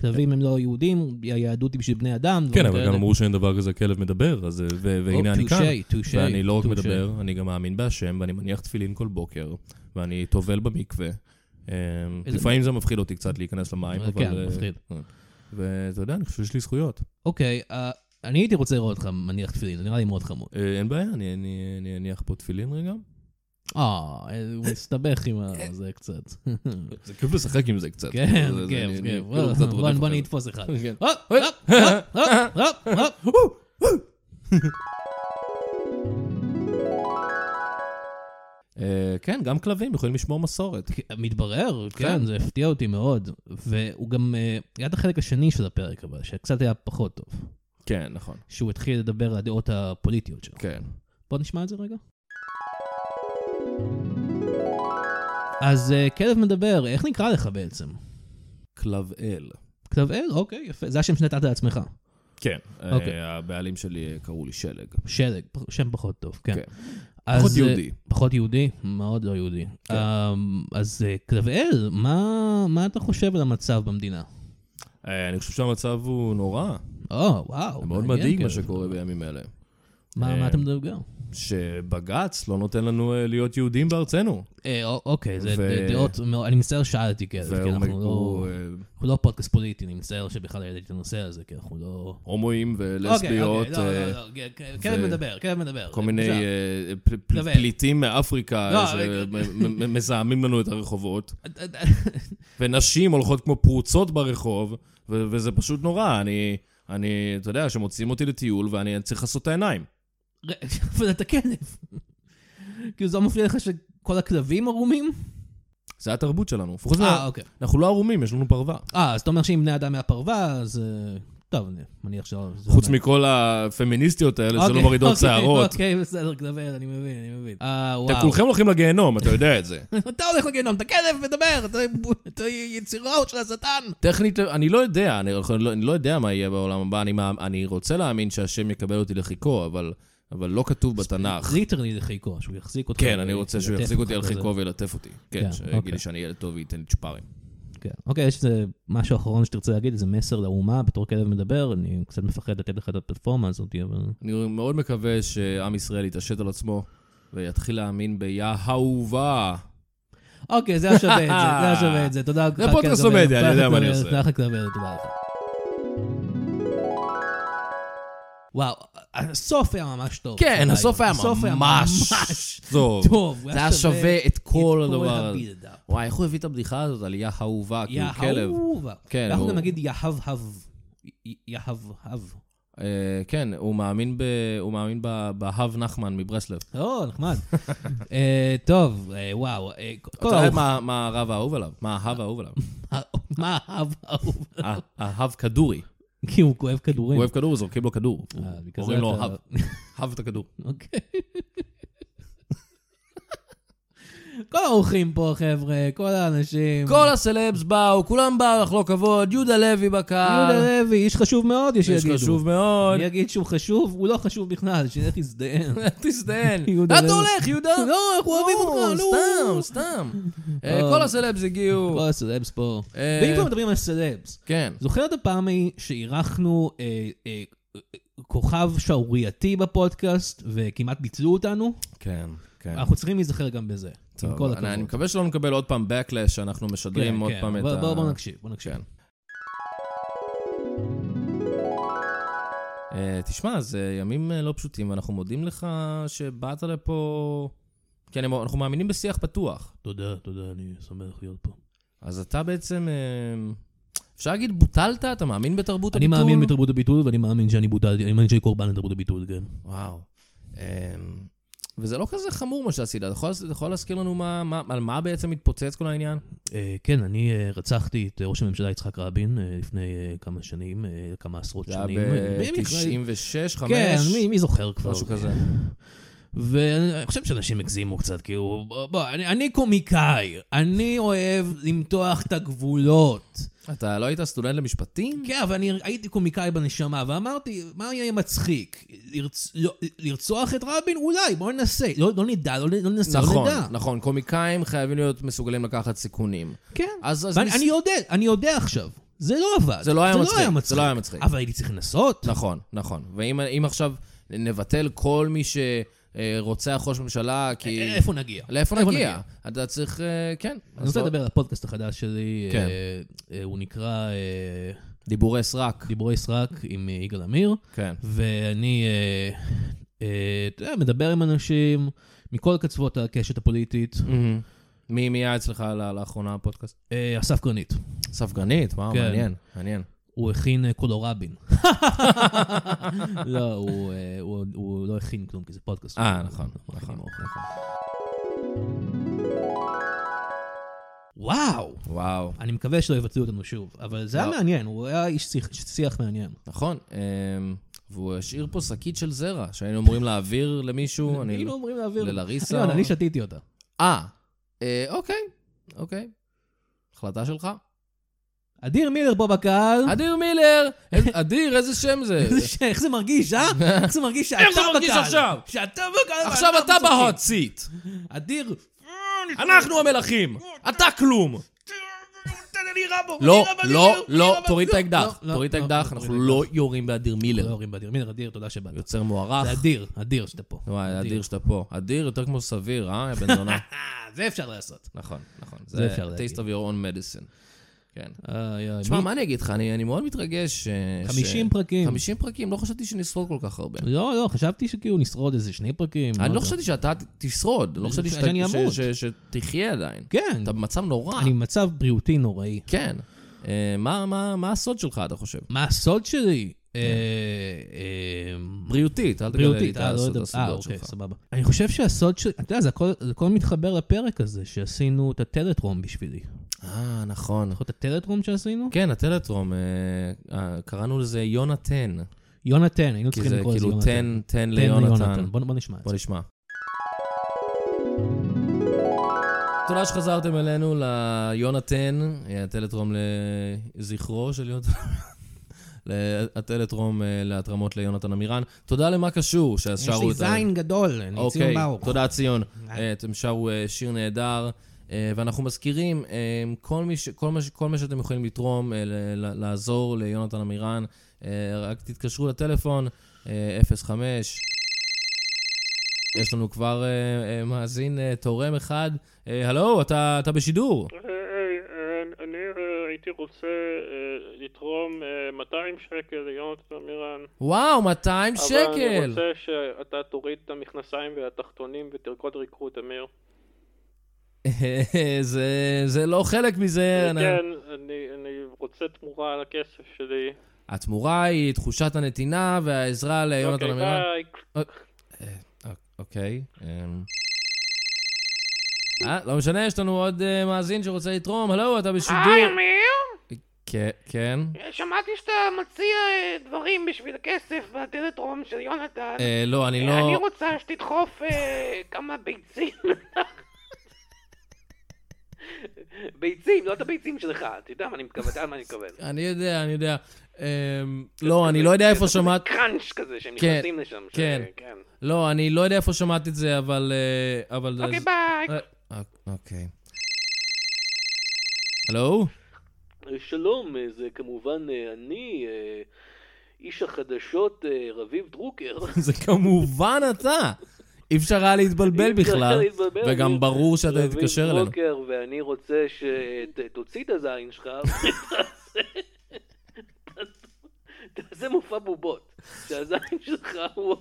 Speaker 2: כלבים הם לא יהודים, היהדות היא בשביל בני אדם.
Speaker 4: כן,
Speaker 2: דברים
Speaker 4: אבל גם
Speaker 2: כאלה.
Speaker 4: אמרו שאין דבר כזה כלב מדבר, אז... אה, ו-
Speaker 2: או,
Speaker 4: והנה אני
Speaker 2: touché,
Speaker 4: כאן.
Speaker 2: touché,
Speaker 4: ואני לא רק
Speaker 2: touché.
Speaker 4: מדבר, אני גם מאמין בהשם, ואני מניח תפילין כל בוקר, ואני טובל במקווה. אה,
Speaker 2: איזה-
Speaker 4: לפעמים זה מפחיד אותי קצת להיכנס למים,
Speaker 2: אה,
Speaker 4: אבל...
Speaker 2: כן,
Speaker 4: אה,
Speaker 2: מפחיד.
Speaker 4: אה. ואתה יודע, אני חושב שיש לי זכויות.
Speaker 2: אוקיי, אה, אני הייתי רוצה לראות אותך מניח תפילין, זה נראה לי מאוד חמוד.
Speaker 4: אה, אין בעיה, אני- אני אני אניח פה תפילין רגע.
Speaker 2: אה, הוא מסתבך עם ה- זה קצת.
Speaker 4: כן. זה כיף לשחק עם זה קצת.
Speaker 2: כן,
Speaker 4: זה- זה-
Speaker 2: כיף,
Speaker 4: אני- אני
Speaker 2: כיף.
Speaker 4: כאילו קצת
Speaker 2: בוא-
Speaker 4: רודף
Speaker 2: בוא אה?
Speaker 4: אחרי
Speaker 2: נתפוס אחד.
Speaker 4: זה.
Speaker 2: [laughs]
Speaker 4: כן.
Speaker 2: הופ, הופ, הופ, הופ,
Speaker 4: [laughs]
Speaker 2: הופ, הופ.
Speaker 4: אה, כן, גם כלבים יכולים לשמור מסורת.
Speaker 2: מתברר,
Speaker 1: כן.
Speaker 2: כן, זה הפתיע אותי מאוד. והוא גם, אה, היה את החלק השני של הפרק אבל, שקצת היה פחות טוב.
Speaker 1: כן, נכון.
Speaker 2: שהוא התחיל לדבר על הדעות הפוליטיות שלו.
Speaker 1: כן.
Speaker 2: בוא נשמע את זה רגע. אז אה, כלב מדבר, איך נקרא לך בעצם?
Speaker 1: כלב אל.
Speaker 2: כתב אל? אוקיי, יפה. זה השם שנתת לעצמך.
Speaker 1: כן. אה,
Speaker 2: אוקיי.
Speaker 1: הבעלים שלי אה, קראו לי שלג.
Speaker 2: שלג, פח- שם פחות טוב, כן.
Speaker 1: כן.
Speaker 2: אז,
Speaker 1: פחות
Speaker 2: אה,
Speaker 1: יהודי. כן.
Speaker 2: פחות יהודי? מאוד לא יהודי. אמ, אז אה, כתב אל, מה- מה אתה חושב על המצב במדינה?
Speaker 1: אה, אני חושב שהמצב הוא נורא.
Speaker 2: או, וואו.
Speaker 1: זה מאוד
Speaker 2: מעניין,
Speaker 1: מדאיג מה
Speaker 2: כן.
Speaker 1: שקורה בימים אלה.
Speaker 2: מה מה
Speaker 1: אה,
Speaker 2: אתה מדבר?
Speaker 1: שבג"ץ לא נותן לנו אה, להיות יהודים בארצנו.
Speaker 2: אה, א- אוקיי, זה
Speaker 1: ו-
Speaker 2: ד- דעות, מאוד- אני מצטער ששאלתי, כי כי
Speaker 1: והוא-
Speaker 2: אנחנו לא-
Speaker 1: הוא, אה,
Speaker 2: אנחנו לא פודקאסט פוליטי, אני מצטער שבכלל העליתי את הנושא הזה, כי אנחנו לא...
Speaker 1: הומואים
Speaker 2: אוקיי,
Speaker 1: ולסביות,
Speaker 2: אוקיי, לא,
Speaker 1: אה,
Speaker 2: לא, לא, לא, כן, כלב
Speaker 1: ו-
Speaker 2: מדבר, כלב מדבר.
Speaker 1: כל מיני
Speaker 2: בבקשה.
Speaker 1: אה, פל- פל-
Speaker 2: דבר.
Speaker 1: פליטים מאפריקה אה,
Speaker 2: לא,
Speaker 1: שמזהמים לנו את הרחובות,
Speaker 2: אה, אה,
Speaker 1: ונשים הולכות כמו פרוצות ברחוב, ו- וזה פשוט נורא. אני, אני, אתה יודע, שמוציאים אותי לטיול ואני צריך לעשות את העיניים.
Speaker 2: ר- אה, [laughs] אבל אתה כלב. כאילו זה לא מפריע לך שכל הכלבים ערומים?
Speaker 1: זה התרבות שלנו. חוץ מזה,
Speaker 2: אה, אוקיי.
Speaker 1: אנחנו לא ערומים, יש לנו פרווה.
Speaker 2: אה, אז אתה אומר שאם בני אדם מהפרווה, אז... אה, טוב, אני מניח שלא... זה
Speaker 1: חוץ
Speaker 2: לא-
Speaker 1: מכל הפמיניסטיות האלה
Speaker 2: אוקיי,
Speaker 1: שלא מרעידות
Speaker 2: אוקיי,
Speaker 1: לא שערות.
Speaker 2: אוקיי, בסדר, דבר, אני מבין, אני מבין. אה,
Speaker 1: אתם
Speaker 2: וואו.
Speaker 1: כולכם הולכים לגיהנום, אתה יודע את זה.
Speaker 2: [laughs] אתה הולך לגיהנום, אתה כלב, מדבר, אתה- אתה יצירות של השטן.
Speaker 1: טכנית, אני לא יודע, אני, לא- אני לא יודע מה יהיה בעולם הבא, אני, מאמ- אני רוצה להאמין שהשם יקבל אותי לחיקו, אבל, אבל לא כתוב בתנ"ך.
Speaker 2: ליטרלי לחיקו, שהוא יחזיק אותך.
Speaker 1: כן, אני רוצה שהוא
Speaker 2: וילטף
Speaker 1: יחזיק אותי על
Speaker 2: אותך כזה.
Speaker 1: חיקו וילטף אותי.
Speaker 2: כן,
Speaker 1: כן, שיגיד
Speaker 2: אוקיי.
Speaker 1: לי שאני ילד טוב וייתן לי צ'ופרים.
Speaker 2: כן. אוקיי, יש איזה משהו אחרון שתרצה להגיד, איזה מסר לאומה בתור כלב מדבר, אני קצת מפחד לתת לך את הפלטפורמה הזאת, אבל...
Speaker 1: אני מאוד מקווה שעם ישראל יתעשת על עצמו ויתחיל להאמין ביהובה.
Speaker 2: אוקיי, זה היה שווה את זה, זה היה
Speaker 1: [laughs]
Speaker 2: שווה את זה, תודה לך.
Speaker 1: פודקאסט
Speaker 2: כלב,
Speaker 1: הומדיה, אני
Speaker 2: תודה
Speaker 1: יודע
Speaker 2: לך,
Speaker 1: מה אני
Speaker 2: כלב,
Speaker 1: עושה.
Speaker 2: תודה לך, כלב, תודה לך. וואו, הסוף היה ממש טוב.
Speaker 1: כן,
Speaker 2: אולי.
Speaker 1: הסוף היה ממש טוב.
Speaker 2: טוב.
Speaker 1: זה היה שווה את כל
Speaker 2: את
Speaker 1: הדבר הזה.
Speaker 2: הבידאפ.
Speaker 1: וואי, איך הוא הביא את הבדיחה הזאת על יהובה, כאילו כלב.
Speaker 2: יהובה.
Speaker 1: כן,
Speaker 2: אנחנו
Speaker 1: הוא-
Speaker 2: גם נגיד יהבהב. י- יהבהב.
Speaker 1: אה, כן, הוא מאמין ב- הוא מאמין ב- בהב נחמן מברסלב.
Speaker 2: או, לא, נחמד. אה, טוב, אה, וואו. אה, כל
Speaker 1: אתה יודע
Speaker 2: האור-
Speaker 1: מה- מה הרב האהוב עליו? מה האהב האהוב
Speaker 2: [laughs]
Speaker 1: עליו?
Speaker 2: מה האב האהוב?
Speaker 1: אה, האהב כדורי.
Speaker 2: כי הוא כואב
Speaker 1: הוא
Speaker 2: כדורים.
Speaker 1: אוהב כדור, זורקים לו כדור.
Speaker 2: אה, בגלל זה
Speaker 1: אומרים לו
Speaker 2: אתה-
Speaker 1: האב. האב את הכדור.
Speaker 2: אוקיי. כל האורחים פה, חבר'ה, כל האנשים.
Speaker 1: כל הסלבס באו, כולם באו לחלוק כבוד, יהודה לוי בקהל.
Speaker 2: יהודה לוי, איש חשוב מאוד, יש
Speaker 1: איש
Speaker 2: שיגידו.
Speaker 1: חשוב מאוד.
Speaker 2: אני אגיד שהוא חשוב, הוא לא חשוב בכלל,
Speaker 1: [laughs]
Speaker 2: שנלך להזדיין.
Speaker 1: תזדיין.
Speaker 2: יהודה
Speaker 1: לאן
Speaker 2: לוי.
Speaker 1: אתה הולך, יהודה?
Speaker 2: לא, אנחנו אוהבים אותך, לא.
Speaker 1: סתם, סתם. אה,
Speaker 2: אה.
Speaker 1: כל הסלבס
Speaker 2: [laughs]
Speaker 1: הגיעו.
Speaker 2: כל הסלבס פה.
Speaker 1: אה,
Speaker 2: ואם כבר מדברים על סלבס,
Speaker 1: כן.
Speaker 2: זוכר את הפעם ההיא שאירחנו אה, אה, אה, כוכב שערורייתי בפודקאסט וכמעט ביטלו אותנו?
Speaker 1: כן, כן.
Speaker 2: אנחנו צריכים להיזכר גם בזה. עם כל
Speaker 1: טוב, אני אני
Speaker 2: הכבוד.
Speaker 1: מקווה שלא נקבל עוד פעם backlash, שאנחנו
Speaker 2: כן,
Speaker 1: משדרים עוד
Speaker 2: כן.
Speaker 1: פעם את
Speaker 2: בוא-
Speaker 1: ה...
Speaker 2: בוא- בואו נקשיב, בואו נקשיב.
Speaker 1: כן. אה, תשמע, זה ימים אה, לא פשוטים, ואנחנו מודים לך שבאת לפה... כן, הם- אנחנו מאמינים בשיח פתוח.
Speaker 2: תודה, תודה, אני שמח להיות פה.
Speaker 1: אז אתה בעצם, אה, אפשר להגיד, בוטלת? אתה מאמין בתרבות
Speaker 2: אני
Speaker 1: הביטול?
Speaker 2: מאמין בתרבות הביטול, ואני מאמין שאני בוטלתי, אני מאמין שאני קורבן לתרבות הביטול, כן.
Speaker 1: וואו. אה, וזה לא כזה חמור מה שעשית. אתה יכול- אתה יכול להזכיר לנו מה- מה- על מה בעצם התפוצץ כל העניין?
Speaker 2: אה, כן, אני אה, רצחתי את אה, ראש הממשלה יצחק רבין אה, לפני אה, כמה שנים, אה, כמה עשרות
Speaker 1: זה היה
Speaker 2: שנים. אה, במקרה-
Speaker 1: ב-96, 5?
Speaker 2: כן, מי- מי זוכר כבר?
Speaker 1: משהו כזה.
Speaker 2: ואני חושב שאנשים הגזימו קצת, כאילו, בוא, בוא, אני, אני קומיקאי, אני אוהב למתוח את הגבולות.
Speaker 1: אתה לא היית סטודנט למשפטים?
Speaker 2: כן, אבל אני הייתי קומיקאי בנשמה, ואמרתי, מה יהיה מצחיק? לרצ... לא, לרצוח את רבין? אולי, בוא ננסה. לא, לא נדע, לא, לא ננסה,
Speaker 1: נכון,
Speaker 2: לא נדע.
Speaker 1: נכון. קומיקאים חייבים להיות מסוגלים לקחת סיכונים.
Speaker 2: כן.
Speaker 1: אז אז
Speaker 2: ואני
Speaker 1: ניס-
Speaker 2: אני יודע, אני יודע עכשיו. זה לא עבד.
Speaker 1: זה לא היה מצחיק,
Speaker 2: זה
Speaker 1: זה לא היה מצחיק.
Speaker 2: אבל הייתי צריך לנסות.
Speaker 1: נכון, נכון. ואם אם עכשיו נבטל כל מי שרוצח ראש ממשלה, כי...
Speaker 2: אה, איפה נגיע?
Speaker 1: לאיפה נגיע? אתה צריך... אה, כן.
Speaker 2: אני רוצה
Speaker 1: אז לא-
Speaker 2: לדבר על הפודקאסט החדש שלי.
Speaker 1: כן.
Speaker 2: אה, אה, הוא נקרא אה,
Speaker 1: דיבורי סרק.
Speaker 2: דיבורי סרק עם אה, יגאל עמיר.
Speaker 1: כן.
Speaker 2: ואני, אה, אה, אתה יודע, מדבר עם אנשים מכל קצוות הקשת הפוליטית.
Speaker 1: מהמם. מי מי היה אצלך ל- לאחרונה בפודקאסט?
Speaker 2: אה, אסף גרנית,
Speaker 1: ספגנית, וואו,
Speaker 2: כן.
Speaker 1: מעניין, מעניין.
Speaker 2: הוא הכין אה, קולורבין. לא, הוא, אה, הוא- הוא לא הכין כלום, כי זה פודקאסט.
Speaker 1: אה, נכון, נכון.
Speaker 2: מכינים אוכל. וואו!
Speaker 1: וואו,
Speaker 2: אני מקווה שלא יבטלו אותנו שוב, אבל זה היה
Speaker 1: לא.
Speaker 2: מעניין, הוא היה איש שיח- שיח מעניין.
Speaker 1: נכון. אמ, והוא השאיר פה שקית של זרע, שהיינו אמורים להעביר למישהו, אני... לא-
Speaker 2: היינו אמורים להעביר.
Speaker 1: ללריסה.
Speaker 2: אני לא יודע, אני שתיתי אותה.
Speaker 1: אה, אה, אוקיי, אוקיי. החלטה שלך.
Speaker 2: אדיר מילר פה בקהל.
Speaker 1: אדיר מילר! איזה- אדיר, איזה שם זה?
Speaker 2: איזה ש- איך זה מרגיש, אה? איך זה מרגיש שאתה בקהל.
Speaker 4: זה מרגיש עכשיו?
Speaker 2: שאתה בקהל.
Speaker 1: עכשיו
Speaker 2: ואנחנו
Speaker 1: אתה
Speaker 2: צוחקים.
Speaker 1: בהוט סיט.
Speaker 2: אדיר.
Speaker 1: אנחנו המלכים! אתה כלום!
Speaker 5: תן לי אני אירה בו. אני
Speaker 1: לא,
Speaker 5: אירה באדיר
Speaker 1: לא,
Speaker 5: מילר, אני
Speaker 1: לא,
Speaker 5: אירה
Speaker 1: תוריד את
Speaker 5: באדיר
Speaker 1: האקדח,
Speaker 2: לא, לא,
Speaker 1: תוריד את
Speaker 2: לא,
Speaker 1: האקדח,
Speaker 2: לא,
Speaker 1: אנחנו
Speaker 2: תוריד
Speaker 1: לא אה. יורים באדיר
Speaker 2: לא
Speaker 1: מילר.
Speaker 2: יורים באדיר. מילר, אדיר, תודה שבאת.
Speaker 1: יוצר מוערך.
Speaker 2: זה אדיר, אדיר שאתה פה.
Speaker 1: וואי, אדיר שאתה פה. אדיר יותר כמו סביר, אה, יא
Speaker 2: [laughs]
Speaker 1: בן זונה?
Speaker 2: אה, זה אפשר לעשות.
Speaker 1: נכון, נכון.
Speaker 2: זה אפשר להגיד.
Speaker 1: taste of your own medicine. כן.
Speaker 2: איי, איי,
Speaker 1: תשמע,
Speaker 2: מי-
Speaker 1: מה אני אגיד לך? אני אני מאוד מתרגש. ש-
Speaker 2: 50
Speaker 1: ש-
Speaker 2: פרקים.
Speaker 1: 50 פרקים, לא חשבתי שנשרוד כל כך הרבה.
Speaker 2: לא, לא, חשבתי שכאילו נשרוד איזה שני פרקים.
Speaker 1: אני לא
Speaker 2: יודע.
Speaker 1: חשבתי שאתה ת- תשרוד, לא חשבתי שאתה-
Speaker 2: שאני
Speaker 1: ש-
Speaker 2: אמות.
Speaker 1: ש- שתחיה עדיין.
Speaker 2: כן,
Speaker 1: אתה במצב נורא.
Speaker 2: אני במצב בריאותי נוראי.
Speaker 1: כן. אה, מה- מה מה הסוד שלך, אתה חושב?
Speaker 2: מה הסוד שלי?
Speaker 1: כן.
Speaker 2: אה, אה,
Speaker 1: בריאותית, אל תגלה לי
Speaker 2: בריאותית,
Speaker 1: את
Speaker 2: אה, לא
Speaker 1: הסוד-
Speaker 2: יודע, אה,
Speaker 1: הסודות
Speaker 2: אוקיי,
Speaker 1: שלך.
Speaker 2: סבבה. אני חושב שהסוד שלי, אתה יודע, זה הכל- זה הכל מתחבר לפרק הזה, שעשינו את הטלטרום בשבילי.
Speaker 1: אה, נכון.
Speaker 2: זוכר את הטלטרום שעשינו?
Speaker 1: כן, הטלטרום, אה, אה, קראנו לזה יונתן.
Speaker 2: יונתן, היינו
Speaker 1: כי
Speaker 2: צריכים
Speaker 1: זה
Speaker 2: לקרוא כן, לזה
Speaker 1: כאילו
Speaker 2: יונתן.
Speaker 1: תן, תן
Speaker 2: תן
Speaker 1: ליונתן.
Speaker 2: בוא בוא נשמע את
Speaker 1: בוא
Speaker 2: זה.
Speaker 1: נשמע. תודה שחזרתם אלינו ליונתן, אה, הטלטרום לזכרו של יונתן. ל- הטלטרום אה, להתרמות ליונתן עמירן. תודה למה קשור ששרו את ה...
Speaker 2: גדול, אני
Speaker 1: אוקיי,
Speaker 2: ברוך.
Speaker 1: תודה ציון.
Speaker 2: אה.
Speaker 1: אה, אתם שרו אה, שיר נהדר, אה, ואנחנו מזכירים, אה, כל מי ש- כל מה ש- כל מה שאתם יכולים לתרום, אה, ל- ל- לעזור ליונתן עמירן, אה, רק תתקשרו לטלפון, אה, 05. יש לנו כבר אה, אה, מאזין אה, תורם אחד. אה, הלו, אתה אתה בשידור.
Speaker 6: אה, היי, אה, אני אה, הייתי רוצה אה, לתרום אה, 200 שקל ליונתן מירן.
Speaker 1: וואו, 200
Speaker 6: אבל אני
Speaker 1: שקל.
Speaker 6: רוצה שאתה תוריד את המכנסיים והתחתונים ותרקוד ריקוד, אמיר.
Speaker 1: [laughs] זה- זה לא חלק מזה. אני-
Speaker 6: כן, אני- אני רוצה תמורה על הכסף שלי.
Speaker 1: התמורה היא תחושת הנתינה והעזרה ליונתן
Speaker 6: אוקיי,
Speaker 1: עמירן.
Speaker 6: ביי.
Speaker 1: אוקיי. אמ. אה, לא משנה, יש לנו עוד אה, מאזין שרוצה לתרום. הלו, אתה
Speaker 7: היי,
Speaker 1: בשידור.
Speaker 7: אמיר,
Speaker 1: כן, כן.
Speaker 7: שמעתי שאתה מציע אה, דברים בשביל הכסף בטלטרום של יונתן.
Speaker 1: אה, לא, אני
Speaker 7: אה, אני
Speaker 1: לא...
Speaker 7: רוצה שתדחוף אה, כמה ביצים. [laughs]
Speaker 5: ביצים, לא את הביצים שלך, אתה יודע מה אני מתכוון, אתה יודע מה אני מתכוון.
Speaker 1: אני יודע, אני יודע. אמ, לא, אני לא יודע איפה שמעת...
Speaker 5: קראנץ' כזה, שהם
Speaker 1: כן,
Speaker 5: נכנסים לשם. ש-
Speaker 1: כן.
Speaker 5: כן.
Speaker 1: לא, אני לא יודע איפה שמעת את זה, אבל... אה, אבל...
Speaker 7: אוקיי,
Speaker 1: זה-
Speaker 7: ביי.
Speaker 1: אה, אוקיי. הלו? [laughs]
Speaker 5: אה, שלום, אה, זה כמובן אה, אני, אה, איש החדשות אה, רביב דרוקר.
Speaker 1: זה כמובן אתה. אי אפשר היה להתבלבל בכלל,
Speaker 5: אי אפשר להתבלבל,
Speaker 1: וגם
Speaker 5: אני-
Speaker 1: ברור שאתה תתקשר
Speaker 5: רביב
Speaker 1: אלינו.
Speaker 5: דרוקר, ואני רוצה שתוציא את הזין שלך [laughs] ותעשה- תעשה מופע בובות. שהזין שלך הוא...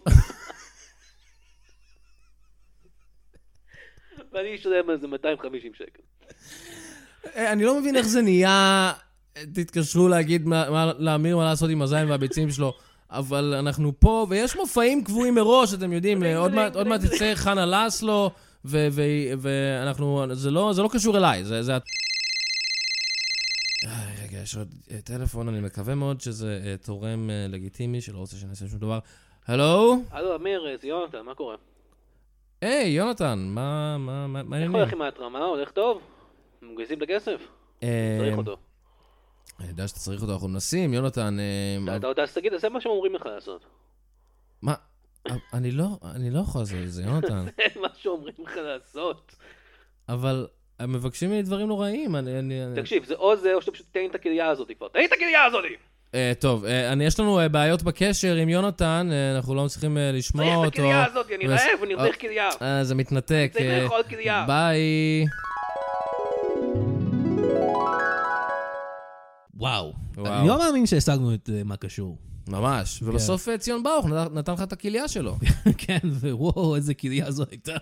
Speaker 5: ואני אשלם על זה 250 שקל.
Speaker 1: אה, אני לא מבין איך זה נהיה, אה, תתקשרו להגיד מה- מה- לאמיר מה לעשות עם הזין והביצים שלו, אבל אנחנו פה, ויש מופעים קבועים מראש, אתם יודעים, אה, עוד מעט- עוד מעט תצא חנה לסלו, ו- ו- ואנחנו, זה לא זה לא קשור אליי, זה... זה את- אה, רגע, יש עוד אה, טלפון, אני מקווה מאוד שזה אה, תורם אה, לגיטימי, שלא רוצה שנעשה שום דבר. הלו?
Speaker 5: הלו, אמיר, אה, זה יונתן, מה קורה?
Speaker 1: היי, יונתן, מה מה- מה- מה
Speaker 5: איך
Speaker 1: העניינים?
Speaker 5: הולך עם ההתרמה? הולך טוב? מגייסים את הכסף?
Speaker 1: אה,
Speaker 5: צריך אותו.
Speaker 1: אני יודע שאתה צריך אותו, אנחנו מנסים, יונתן. אה,
Speaker 5: אתה אתה- אז תגיד, תעשה מה שהם אומרים לך לעשות.
Speaker 1: מה? אני לא, אני לא יכול לעשות את זה, [laughs] יונתן.
Speaker 5: מה שאומרים לך לעשות.
Speaker 1: אבל הם מבקשים ממני דברים נוראים, אני... אני, אני...
Speaker 5: תקשיב, זה או זה או שאתה פשוט תן את הכליה הזאת כבר. תן את הכליה הזאת!
Speaker 1: אה, טוב, אה, אני, יש לנו אה, בעיות בקשר עם יונתן, אה, אנחנו לא מצליחים אה, לשמוע
Speaker 5: צריך
Speaker 1: אותו.
Speaker 5: את הכליה הזאת, אני
Speaker 1: מס-
Speaker 5: רעב, אני
Speaker 1: אה,
Speaker 5: צריך כליה.
Speaker 1: אה, זה מתנתק.
Speaker 5: צריך
Speaker 1: אה,
Speaker 5: לאכול כליה.
Speaker 1: ביי.
Speaker 2: וואו.
Speaker 1: וואו.
Speaker 2: אני לא מאמין שהשגנו את אה, מה קשור. [laughs]
Speaker 1: ממש. ובסוף אה, ציון ברוך נתן- נתן לך את הכליה
Speaker 2: [laughs]
Speaker 1: שלו.
Speaker 2: כן, ווואו, איזה כליה זו הייתה.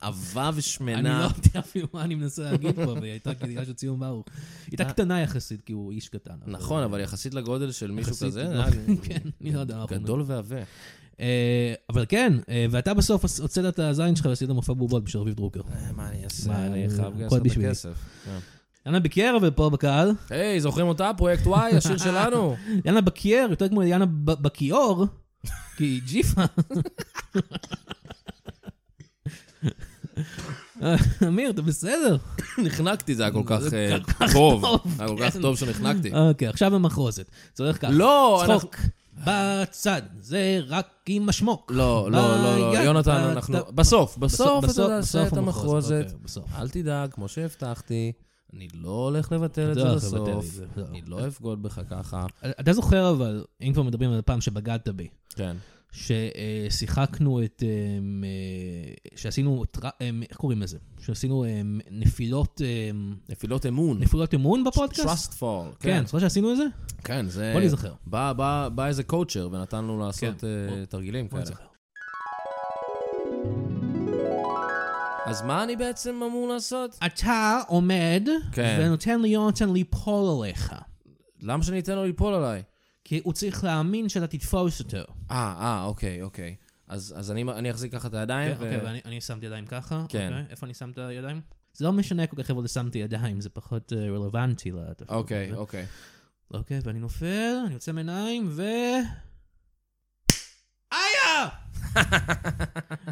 Speaker 1: עבה
Speaker 2: אני לא
Speaker 1: ושמנה.
Speaker 2: יודע אפילו מה אני מנסה להגיד פה, והיא הייתה כליה של ציון ברוך. היא הייתה קטנה יחסית, כי הוא איש קטן. אבל-
Speaker 1: אה. נכון, אבל יחסית לגודל של מישהו
Speaker 2: יחסית,
Speaker 1: כזה,
Speaker 2: לא.
Speaker 1: אה,
Speaker 2: [laughs] כן, אני לא יודע. אנחנו-
Speaker 1: גדול ועבה.
Speaker 2: אה, אבל כן, אה, ואתה בסוף עש- הוצאת את הזין שלך ועשית מופע בובות בשביל רביב דרוקר.
Speaker 1: אה, מה אני אעשה?
Speaker 2: מה,
Speaker 1: אני חייב
Speaker 2: הכל
Speaker 1: לגייס לך את
Speaker 2: בשבילי.
Speaker 1: הכסף. כן.
Speaker 2: יאנה בקייר אבל פה בקהל.
Speaker 1: היי, זוכרים אותה? פרויקט וואי,
Speaker 2: [laughs]
Speaker 1: השיר שלנו.
Speaker 2: יאנה בקייר, יותר כמו יאנה ב- בקיאור, [laughs] כי היא ג'יפה. אמיר, אתה בסדר?
Speaker 1: נחנקתי, זה היה כל כך אה,
Speaker 2: כל כך
Speaker 1: טוב.
Speaker 2: טוב,
Speaker 1: היה כל כך
Speaker 2: כן.
Speaker 1: טוב שנחנקתי.
Speaker 2: אוקיי, עכשיו במחרוזת. זה הולך ככה.
Speaker 1: לא, אנחנו...
Speaker 2: צחוק בצד, זה רק עם השמוק.
Speaker 1: לא, לא, לא, לא,
Speaker 2: ביד,
Speaker 1: יונתן,
Speaker 2: בת-
Speaker 1: אנחנו... בסוף, בסוף אתה
Speaker 2: אה, בסוף
Speaker 1: תעשה את
Speaker 2: המחרוזת,
Speaker 1: המחרוזת.
Speaker 2: אוקיי, בסוף.
Speaker 1: אל תדאג, כמו שהבטחתי, אני לא הולך לבטל את
Speaker 2: אתה
Speaker 1: זה
Speaker 2: לא הולך לבטל
Speaker 1: בסוף.
Speaker 2: את זה, לא.
Speaker 1: אני לא אבגוד בך ככה.
Speaker 2: אתה זוכר אבל, אם כבר מדברים על הפעם שבגדת בי,
Speaker 1: כן.
Speaker 2: ששיחקנו את... אמ, אה, שעשינו... טר- אמ, איך קוראים לזה? שעשינו אמ, נפילות אמ,
Speaker 1: נפילות אמון.
Speaker 2: נפילות אמון בפודקאסט?
Speaker 1: Trust fall.
Speaker 2: כן, זוכר שעשינו את זה?
Speaker 1: כן, זה...
Speaker 2: בוא נזכר.
Speaker 1: בא, בא, בא איזה קואוצ'ר ונתן לו לעשות
Speaker 2: כן,
Speaker 1: אה,
Speaker 2: בוא-
Speaker 1: תרגילים
Speaker 2: בוא
Speaker 1: כאלה.
Speaker 2: נזכר.
Speaker 1: אז מה אני בעצם אמור לעשות?
Speaker 2: אתה עומד
Speaker 1: כן.
Speaker 2: ונותן ליונתן ליפול עליך.
Speaker 1: למה שאני אתן לו ליפול עליי?
Speaker 2: כי הוא צריך להאמין שאתה תתפוס אותו.
Speaker 1: אה, אה, אוקיי, אוקיי. אז, אז אני, אני אחזיק ככה את הידיים.
Speaker 2: אוקיי, ואני אני שמתי ידיים ככה.
Speaker 1: כן.
Speaker 2: אוקיי, איפה אני שם את הידיים? זה לא משנה כל כך איפה שמתי ידיים, זה פחות אה, רלוונטי לתפקיד. [laughs]
Speaker 1: אוקיי, אוקיי.
Speaker 2: אוקיי, ואני נופל, אני יוצא מעיניים, ו... איה!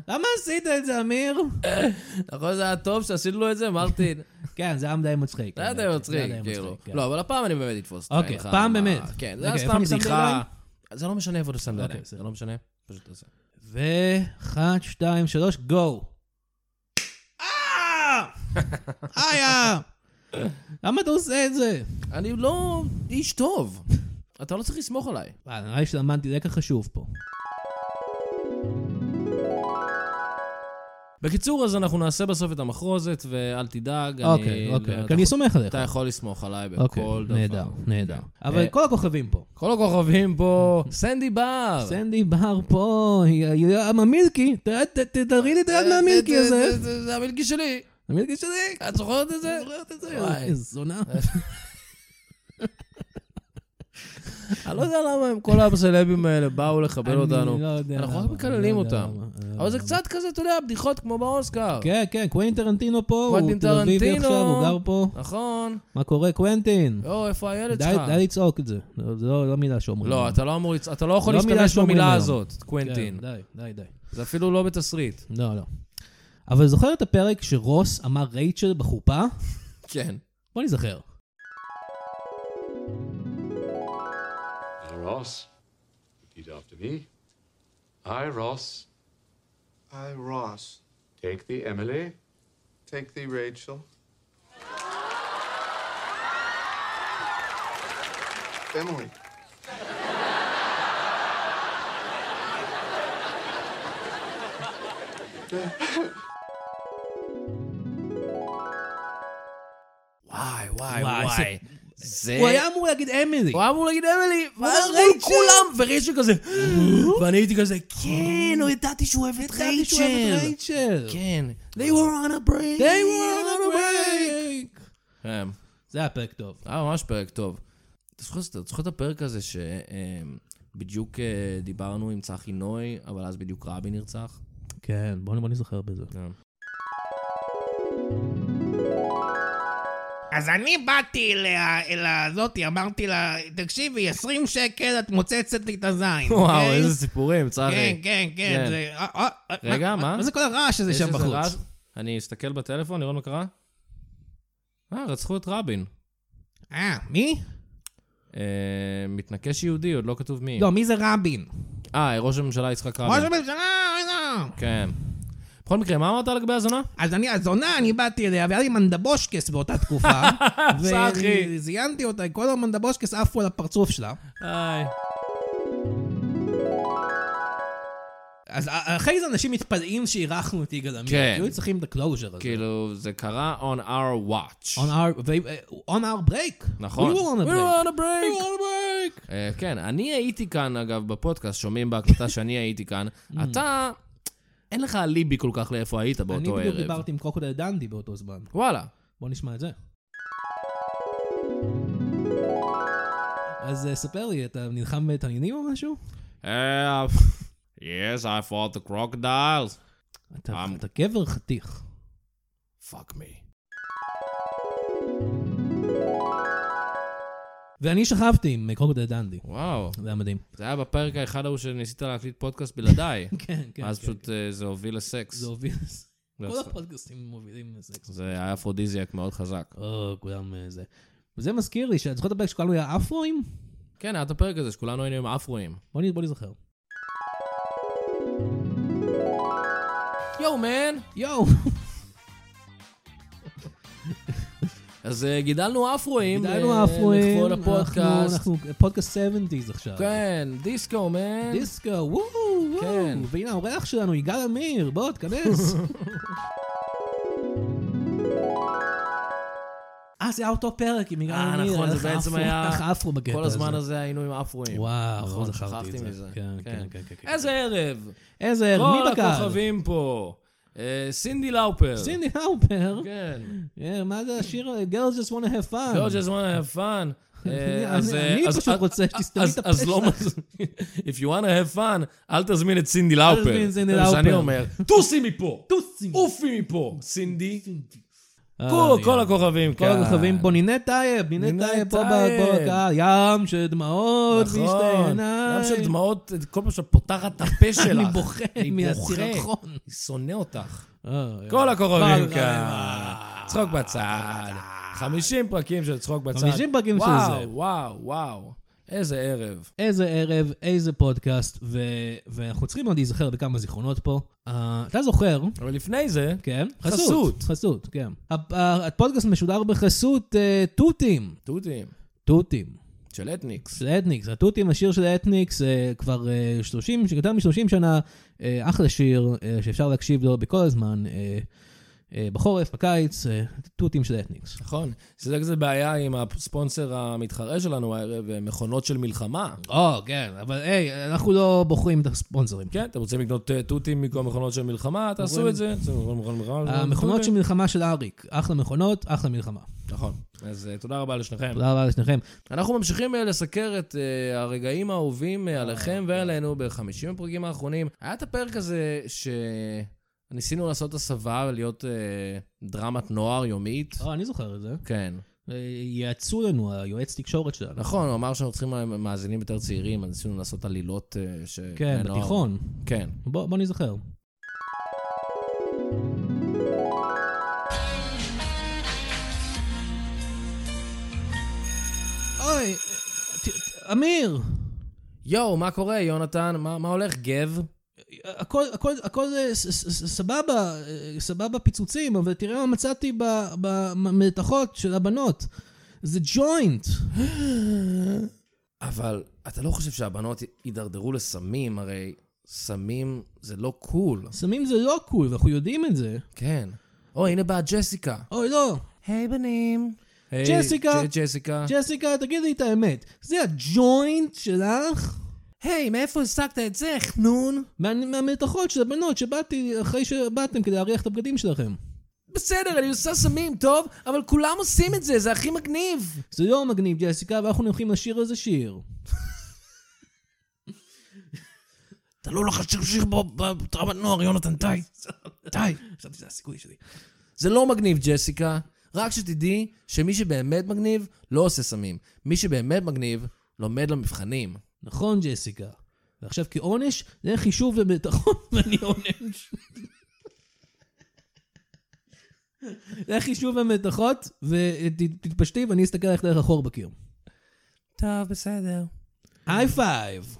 Speaker 2: למה עשית את זה, אמיר?
Speaker 1: [laughs] נכון, זה היה טוב שעשינו לו את זה,
Speaker 2: [laughs]
Speaker 1: מרטין?
Speaker 2: כן, זה היה די מצחיק.
Speaker 1: זה היה די
Speaker 2: האמת,
Speaker 1: מצחיק,
Speaker 2: זה היה די
Speaker 1: כאילו.
Speaker 2: מצחיק, כן.
Speaker 1: לא, אבל הפעם אני באמת אתפוס אותך.
Speaker 2: אוקיי,
Speaker 1: אין לך
Speaker 2: פעם
Speaker 1: מה-
Speaker 2: באמת.
Speaker 1: כן, זה
Speaker 2: רגע,
Speaker 1: היה
Speaker 2: איפה
Speaker 1: סתם
Speaker 2: אני שם את
Speaker 1: בדיחה.
Speaker 2: הידיים?
Speaker 1: זה לא משנה איפה אתה שם את
Speaker 2: אוקיי,
Speaker 1: הידיים, זה
Speaker 2: בסדר.
Speaker 1: לא משנה. פשוט עושה.
Speaker 2: ואחת, שתיים, שלוש,
Speaker 1: [laughs]
Speaker 2: גו. אה! איה! למה אתה עושה את זה?
Speaker 1: אני לא איש טוב. אתה לא צריך לסמוך עליי.
Speaker 2: וואלה, נראה לי שלמדתי לקח חשוב פה.
Speaker 1: בקיצור, אז אנחנו נעשה בסוף את המחרוזת, ואל תדאג. אני-
Speaker 2: אוקיי, אוקיי,
Speaker 1: אתה-
Speaker 2: כי אני סומך עליך.
Speaker 1: אתה יכול לסמוך עליי
Speaker 2: אוקיי,
Speaker 1: בכל דבר.
Speaker 2: נהדר, נהדר. אבל
Speaker 1: אה,
Speaker 2: כל הכוכבים פה.
Speaker 1: כל הכוכבים
Speaker 2: [laughs]
Speaker 1: פה, סנדי בר.
Speaker 2: סנדי בר פה, היא- היא- המילקי, ת- ת- ת- תראי לי את היד מהמילקי
Speaker 1: אה, זה-
Speaker 2: הזה.
Speaker 1: זה- זה- זה המילקי שלי.
Speaker 2: המילקי שלי,
Speaker 1: את זוכרת את זה?
Speaker 2: את זה,
Speaker 1: וואי. אה,
Speaker 2: איזה זונה.
Speaker 1: אני לא יודע למה הם, כל הסלבים האלה באו לכבד אותנו.
Speaker 2: אני לא יודע
Speaker 1: אנחנו רק
Speaker 2: למה,
Speaker 1: מקללים
Speaker 2: אני לא יודע
Speaker 1: אותם.
Speaker 2: למה, אני לא
Speaker 1: אבל זה
Speaker 2: יודע
Speaker 1: קצת כזה, אתה יודע, בדיחות כמו באוסקר.
Speaker 2: למה. כן, כן, קוונטין טרנטינו פה, הוא
Speaker 1: קוונטין
Speaker 2: תל אביבי
Speaker 1: טרנטינו. לא,
Speaker 2: עכשיו, הוא גר פה.
Speaker 1: נכון.
Speaker 2: מה קורה, קוונטין?
Speaker 1: או, איפה הילד
Speaker 2: די
Speaker 1: שלך?
Speaker 2: די לצעוק את זה. לא- זה לא לא מילה שאומרים.
Speaker 1: לא, אתה לא אמור, לצ- אתה לא יכול
Speaker 2: לא מילה
Speaker 1: להשתמש
Speaker 2: שאומרים
Speaker 1: במילה
Speaker 2: היום.
Speaker 1: הזאת,
Speaker 2: כן,
Speaker 1: קוונטין.
Speaker 2: די, די, די.
Speaker 1: זה אפילו לא בתסריט.
Speaker 2: לא, לא. אבל זוכר את הפרק שרוס אמר רייצ'ל בחופה?
Speaker 1: כן.
Speaker 2: בוא נזכר.
Speaker 8: Now, Ross, repeat after me. I, Ross,
Speaker 9: I, Ross,
Speaker 8: take the Emily,
Speaker 9: take thee, Rachel. Emily,
Speaker 1: וואי, וואי,
Speaker 2: וואי,
Speaker 1: וואי. זה...
Speaker 2: הוא היה אמור להגיד אמילי.
Speaker 1: הוא היה אמור להגיד אמילי, ואז
Speaker 2: אמר
Speaker 1: מול
Speaker 2: רייצ'ל.
Speaker 1: כולם, ורייצ'ל כזה... ואני הייתי כזה, כן, לא ידעתי שהוא אוהב את
Speaker 2: ידעתי שהוא אוהב את
Speaker 1: רייצ'ל.
Speaker 2: רייצ'ל.
Speaker 1: כן. They were on a break.
Speaker 2: They were on a break.
Speaker 1: כן.
Speaker 2: זה היה פרק טוב.
Speaker 1: היה ממש פרק טוב. אתה זוכר אתה זוכר את הפרק הזה שבדיוק אה, דיברנו עם צחי נוי, אבל אז בדיוק רבין נרצח?
Speaker 2: כן, בואו נזכר בזה.
Speaker 7: אז אני באתי אליה, אל הזאתי, אמרתי לה, תקשיבי, 20 שקל את מוצצת לי את הזין.
Speaker 1: וואו,
Speaker 7: אוקיי?
Speaker 1: איזה סיפורים,
Speaker 7: כן,
Speaker 1: צחי.
Speaker 7: כן,
Speaker 1: כן.
Speaker 7: כן, זה... אה, אה, אה,
Speaker 1: רגע, מה?
Speaker 7: מה זה כל הרעש הזה
Speaker 1: יש
Speaker 7: שם
Speaker 1: איזה
Speaker 7: בחוץ?
Speaker 1: רעש? אני אסתכל בטלפון, לראות מה קרה. אה, רצחו את רבין.
Speaker 7: אה, מי?
Speaker 1: אה, מתנקש יהודי, עוד לא כתוב מי.
Speaker 7: לא, מי זה רבין?
Speaker 1: אה, ראש הממשלה יצחק
Speaker 7: ראש
Speaker 1: רבין.
Speaker 7: הממשלה, אה,
Speaker 1: כן. בכל מקרה, מה אמרת לגבי הזונה?
Speaker 7: אז אני הזונה, אני באתי אליה, והיה לי מנדבושקס באותה
Speaker 2: [laughs]
Speaker 7: תקופה.
Speaker 1: צחי.
Speaker 7: וזיינתי אותה, כל המנדבושקס עפו על הפרצוף שלה.
Speaker 1: היי.
Speaker 2: אז א- אחרי זה אנשים מתפלאים שאירחנו את יגאל עמיר.
Speaker 1: כן.
Speaker 2: כי היו צריכים את הקלוז'ר הזה.
Speaker 1: כאילו, זה קרה on our watch.
Speaker 2: On our, ו- uh, on our break.
Speaker 1: נכון.
Speaker 2: We were on a
Speaker 1: We
Speaker 2: break.
Speaker 1: were on a break.
Speaker 2: on a break.
Speaker 1: אה, כן, אני הייתי כאן, אגב, בפודקאסט, שומעים
Speaker 2: [laughs]
Speaker 1: בהקלטה שאני הייתי כאן.
Speaker 2: Mm.
Speaker 1: אתה, אין לך אליבי כל כך לאיפה היית
Speaker 2: אני
Speaker 1: באותו
Speaker 2: בדיוק
Speaker 1: ערב.
Speaker 2: דיברתי עם קרוקודל דנדי באותו זמן.
Speaker 1: וואלה.
Speaker 2: בואו נשמע את זה. אז אה, ספר לי, אתה נלחם בתנינים או משהו?
Speaker 1: אה, Yes, I fought the crocodiles.
Speaker 2: אתה
Speaker 1: I'm-
Speaker 2: אתה גבר חתיך.
Speaker 1: Fuck me.
Speaker 2: ואני שכבתי עם אה, קרוקודל דנדי.
Speaker 1: וואו,
Speaker 2: זה היה
Speaker 1: [laughs]
Speaker 2: מדהים.
Speaker 1: זה היה בפרק האחד ההוא שניסית להקליט פודקאסט בלעדיי.
Speaker 2: [laughs] כן, כן.
Speaker 1: אז
Speaker 2: כן.
Speaker 1: פשוט אה, זה הוביל לסקס.
Speaker 2: זה הוביל...
Speaker 1: זה
Speaker 2: [laughs] כל
Speaker 1: עשה-
Speaker 2: הפודקאסטים מובילים לסקס.
Speaker 1: זה היה אפרודיזיאק מאוד חזק.
Speaker 2: או, כולם אה, זה. וזה מזכיר לי, שאת זוכרת הפרק שכולנו היה אפרואים?
Speaker 1: כן, היה את הפרק הזה שכולנו היינו עם אפרואים.
Speaker 2: בוא נ- בוא נזכר.
Speaker 1: יואו, מן!
Speaker 2: יואו!
Speaker 1: אז אה, גידלנו אפרואים.
Speaker 2: גידלנו
Speaker 1: אה,
Speaker 2: אפרואים,
Speaker 1: לכבוד
Speaker 2: אנחנו-
Speaker 1: הפודקאסט.
Speaker 2: אנחנו פודקאסט 70's עכשיו.
Speaker 1: כן, דיסקו, מן.
Speaker 2: דיסקו, וואו, וואו.
Speaker 1: כן.
Speaker 2: והנה האורח שלנו, יגאל עמיר, בוא, תכנס. אה, זה היה אותו פרק עם יגאל
Speaker 1: אה,
Speaker 2: עמיר.
Speaker 1: נכון,
Speaker 2: היה
Speaker 1: זה
Speaker 2: לך
Speaker 1: בעצם
Speaker 2: אפרו-
Speaker 1: היה-
Speaker 2: לך אפרו בקטע
Speaker 1: כל
Speaker 2: הזה.
Speaker 1: הזמן הזה היינו עם אפרואים.
Speaker 2: כן, וואו,
Speaker 1: נכון,
Speaker 2: לא זכרתי
Speaker 1: שכחתי
Speaker 2: את זה.
Speaker 1: מזה.
Speaker 2: כן, כן,
Speaker 1: כן.
Speaker 2: כן, כן, כן.
Speaker 1: איזה ערב.
Speaker 2: איזה ערב,
Speaker 1: כל
Speaker 2: מי בקהל?
Speaker 1: הכוכבים פה. אה, סינדי לאופר.
Speaker 2: סינדי האופר.
Speaker 1: כן.
Speaker 2: אה, מה זה השיר? Girls just want to have fun.
Speaker 1: Girls just want to have fun.
Speaker 2: אה. [laughs] אני-
Speaker 1: אה, אז,
Speaker 2: אני-
Speaker 1: אה,
Speaker 2: אני
Speaker 1: אז-
Speaker 2: פשוט
Speaker 1: אז-
Speaker 2: רוצה שתסתמי
Speaker 1: אז-
Speaker 2: את הפה
Speaker 1: אז לא
Speaker 2: שלך.
Speaker 1: מזמין, [laughs] if you want to have fun, אל תזמין את סינדי לאופר.
Speaker 2: תזמין את סינדי
Speaker 1: זה מה שאני
Speaker 2: לאופר.
Speaker 1: אומר, טוסי מפה!
Speaker 2: טוסים.
Speaker 1: עופי מפה! סינדי.
Speaker 2: אה,
Speaker 1: כל- כל
Speaker 2: יאללה.
Speaker 1: הכוכבים כן.
Speaker 2: כל
Speaker 1: כאן.
Speaker 2: הכוכבים פה, נינת טייב, נינת
Speaker 1: נינת
Speaker 2: טייב פה ב-
Speaker 1: טייב.
Speaker 2: פה בקהל, ים של דמעות ושתי
Speaker 1: נכון.
Speaker 2: עיניים.
Speaker 1: ים של דמעות, כל פעם שאת פותחת את הפה שלך.
Speaker 2: [laughs] אני בוכה
Speaker 1: אני בוכה.
Speaker 2: מהסירחון.
Speaker 1: אני שונא אותך.
Speaker 2: אה,
Speaker 1: כל הכוכבים
Speaker 2: כל
Speaker 1: כאן. צחוק בצד. 50 פרקים של צחוק בצד.
Speaker 2: 50 פרקים של זה.
Speaker 1: וואו, וואו, וואו. איזה ערב.
Speaker 2: איזה ערב, איזה פודקאסט, ו- ואנחנו צריכים עוד להיזכר בכמה זיכרונות פה. אה, אתה זוכר,
Speaker 1: אבל לפני זה,
Speaker 2: כן?
Speaker 1: חסות.
Speaker 2: חסות, כן. ה- ה- הפודקאסט משודר בחסות אה, תותים.
Speaker 1: תותים
Speaker 2: תותים.
Speaker 1: של אתניקס.
Speaker 2: של אתניקס, התותים, השיר של אתניקס, אה, כבר אה, 30, יותר מ-30 שנה, אה, אחלה שיר אה, שאפשר להקשיב לו בכל הזמן, אה, אה, בחורף, בקיץ, אה, תותים של אתניקס.
Speaker 1: נכון. שזה כזה בעיה עם הספונסר המתחרה שלנו הערב, אה, מכונות של מלחמה.
Speaker 2: או, כן, אבל היי, אנחנו לא בוחרים את הספונסרים.
Speaker 1: כן, אתם רוצים לקנות אה, תותים במקום מכונות של מלחמה, תעשו את זה. אתם יכולים מכונות מלחמה,
Speaker 2: המכונות
Speaker 1: תותים.
Speaker 2: אה, של מלחמה של אריק, אחלה מכונות, אחלה מלחמה.
Speaker 1: נכון. אז אה, תודה רבה לשניכם.
Speaker 2: תודה רבה לשניכם.
Speaker 1: אנחנו ממשיכים אה, לסקר את אה, הרגעים האהובים אה, עליכם ועלינו
Speaker 2: כן.
Speaker 1: ב-50 הפרקים האחרונים. היה את הפרק הזה שניסינו לעשות הסבה ולהיות אה, דרמת נוער יומית.
Speaker 2: או, אני זוכר את זה.
Speaker 1: כן.
Speaker 2: אה, יעצו לנו, היועץ תקשורת שלנו.
Speaker 1: נכון, הוא אמר שאנחנו צריכים מאזינים יותר צעירים, אז ניסינו לעשות עלילות אה, ש...
Speaker 2: כן,
Speaker 1: בני נוער-
Speaker 2: בתיכון.
Speaker 1: כן.
Speaker 2: בוא בוא נזכר. אוי, אה, ת- אמיר,
Speaker 1: יואו, מה קורה, יונתן? מה, מה הולך, גב?
Speaker 2: הכל, הכל, הכל אה, ס- ס- ס- סבבה, אה, סבבה פיצוצים, אבל תראה מה מצאתי ב- במתחות של הבנות. זה ג'וינט.
Speaker 1: אבל אתה לא חושב שהבנות יידרדרו לסמים? הרי סמים זה לא קול.
Speaker 2: סמים זה לא קול, ואנחנו יודעים את זה.
Speaker 1: כן. או, הנה באה ג'סיקה.
Speaker 2: אוי, לא.
Speaker 1: היי בנים.
Speaker 2: ג'סיקה.
Speaker 1: ג'סיקה.
Speaker 2: ג'סיקה, תגידי את האמת, זה הג'וינט שלך?
Speaker 1: היי, מאיפה השגת את זה, חנון?
Speaker 2: מה- מהמתחות של הבנות שבאתי אחרי שבאתם כדי להריח את הבגדים שלכם.
Speaker 1: בסדר, אני עושה סמים, טוב? אבל כולם עושים את זה, זה הכי מגניב.
Speaker 2: זה לא מגניב, ג'סיקה, ואנחנו הולכים לשיר איזה שיר.
Speaker 1: תעלו לך שיר שיר בטראומת נוער, יונתן, די. די. חשבתי שזה הסיכוי שלי. זה לא מגניב, ג'סיקה. רק שתדעי שמי שבאמת מגניב לא עושה סמים. מי שבאמת מגניב לומד למבחנים.
Speaker 2: נכון, ג'סיקה. ועכשיו כעונש, זה חישוב ומתחות, [laughs] ואני עונש. זה חישוב המתחות, ותתפשטי ואני אסתכל עליך דרך החור בקיר.
Speaker 1: טוב, בסדר.
Speaker 2: היי פייב.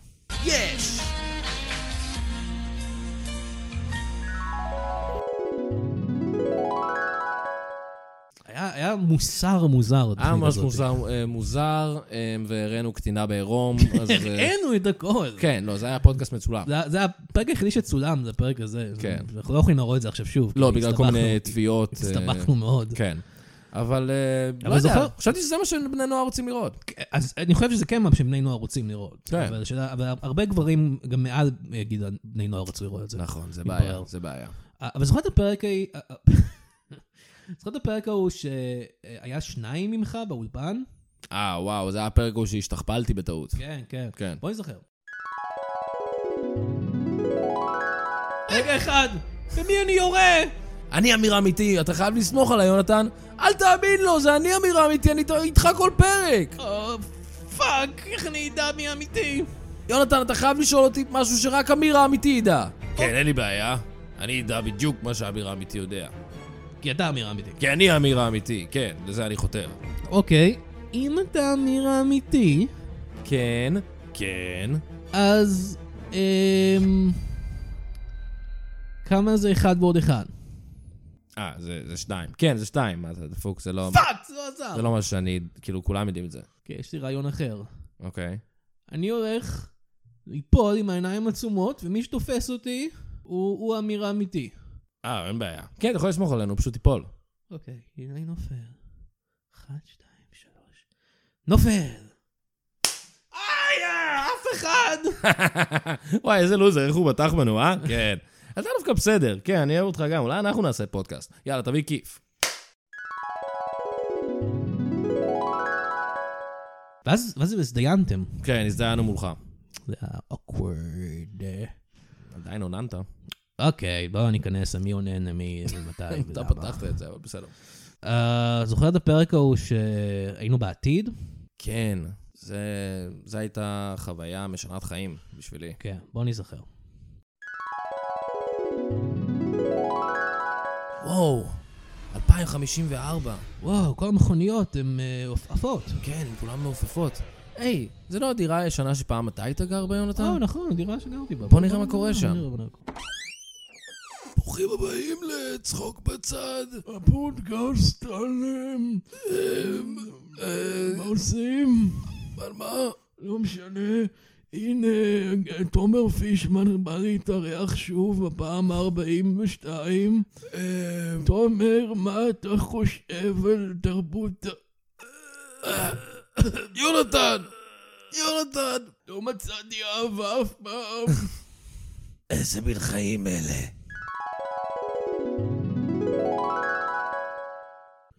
Speaker 2: יש! היה היה מוסר מוזר.
Speaker 1: היה
Speaker 2: התוכנית
Speaker 1: ממש
Speaker 2: הזאת.
Speaker 1: מוזר, אה, מוזר, אה, והראינו קטינה בעירום. [laughs] אז, אה,
Speaker 2: הראינו את הכל.
Speaker 1: כן, לא, זה היה פודקאסט מצולם.
Speaker 2: זה- זה הפרק היחידי שצולם, זה הפרק הזה.
Speaker 1: כן.
Speaker 2: אנחנו לא יכולים להראות את זה עכשיו שוב.
Speaker 1: לא,
Speaker 2: כי
Speaker 1: בגלל כל מיני
Speaker 2: הסתבכנו-
Speaker 1: תביעות. אה,
Speaker 2: הסתבכנו מאוד.
Speaker 1: כן. אבל אה,
Speaker 2: אבל
Speaker 1: לא יודע,
Speaker 2: זוכר-
Speaker 1: חשבתי שזה מה שבני נוער רוצים לראות.
Speaker 2: אז אני חושב שזה כן מה שבני נוער רוצים לראות.
Speaker 1: כן.
Speaker 2: אבל השאלה- אבל הרבה גברים, גם מעל אה, גיל בני נוער רצו לראות את זה.
Speaker 1: נכון, זה
Speaker 2: מתברר. אה,
Speaker 1: בעיה, זה בעיה.
Speaker 2: אבל זוכר את הפרק ההיא... [laughs] זוכר את הפרק ההוא שהיה שניים ממך באולפן?
Speaker 1: אה, וואו, זה היה הפרק ההוא שהשתכפלתי בטעות.
Speaker 2: כן, כן.
Speaker 1: כן.
Speaker 2: בוא נזכר. רגע אחד, במי אני יורה?
Speaker 1: אני אמיר אמיתי, אתה חייב לסמוך עליי, יונתן. אל תאמין לו, זה אני אמיר אמיתי, אני איתו- איתך כל פרק.
Speaker 2: אה, פאק, איך אני אדע מי אמיתי?
Speaker 1: יונתן, אתה חייב לשאול אותי משהו שרק אמיר האמיתי ידע. כן, אין לי בעיה. אני אדע בדיוק מה שאמיר האמיתי יודע.
Speaker 2: כי אתה אמיר האמיתי.
Speaker 1: כי אני אמיר האמיתי, כן, לזה אני חותר.
Speaker 2: אוקיי, אם אתה אמיר האמיתי,
Speaker 1: כן, כן.
Speaker 2: אז... אמ... כמה זה אחד ועוד אחד?
Speaker 1: אה, זה זה שניים. כן, זה שניים, מה אתה דפוק, זה לא...
Speaker 2: פאק, זה לא עזר.
Speaker 1: זה לא מה שאני, כאילו, כולם יודעים את זה.
Speaker 2: אוקיי, יש לי רעיון אחר.
Speaker 1: אוקיי.
Speaker 2: אני הולך ליפול עם העיניים עצומות, ומי שתופס אותי הוא הוא אמיר האמיתי.
Speaker 1: אה, אין בעיה. כן, אתה יכול לסמוך עלינו, פשוט תיפול.
Speaker 2: אוקיי, הנה נופל. אחת, שתיים, שלוש. נופל! איי, אה, אף אחד!
Speaker 1: [laughs] וואי, איזה לוזר, איך הוא בטח בנו, אה? [laughs] כן. אתה דווקא בסדר, כן, אני אוהב אותך גם, אולי אנחנו נעשה פודקאסט. יאללה, תביא כיף.
Speaker 2: ואז ואז הזדיינתם.
Speaker 1: כן, הזדיינו מולך.
Speaker 2: זה היה awkward.
Speaker 1: עדיין עוננת.
Speaker 2: אוקיי, בואו ניכנס למי עונן, מי ומתי.
Speaker 1: [laughs] [laughs] אתה
Speaker 2: ולמה.
Speaker 1: פתחת את זה, אבל בסדר.
Speaker 2: אה, זוכר את הפרק ההוא שהיינו בעתיד?
Speaker 1: כן, זה, זה הייתה חוויה משנת חיים בשבילי.
Speaker 2: כן, בואו נזכר.
Speaker 1: וואו, 2054.
Speaker 2: וואו, כל המכוניות הן אה, עפעפות.
Speaker 1: כן, כולן מעופפות. היי, זה לא הדירה הישנה שפעם אתה היית גר בה, יונתן?
Speaker 2: אה, נכון, דירה שגרתי בה.
Speaker 1: בוא נראה מה קורה
Speaker 2: נראה,
Speaker 1: שם.
Speaker 2: נראה, בוא נראה.
Speaker 1: ברוכים הבאים לצחוק בצד. הפודקאסט על... אה, מה עושים? על מה?
Speaker 10: לא משנה. הנה, תומר פישמן בא להתארח שוב בפעם ה-42.
Speaker 1: אה,
Speaker 10: תומר, מה אתה חושב על תרבות...
Speaker 1: יונתן! יונתן!
Speaker 10: לא מצאתי אהבה אף פעם.
Speaker 1: איזה מין חיים אלה.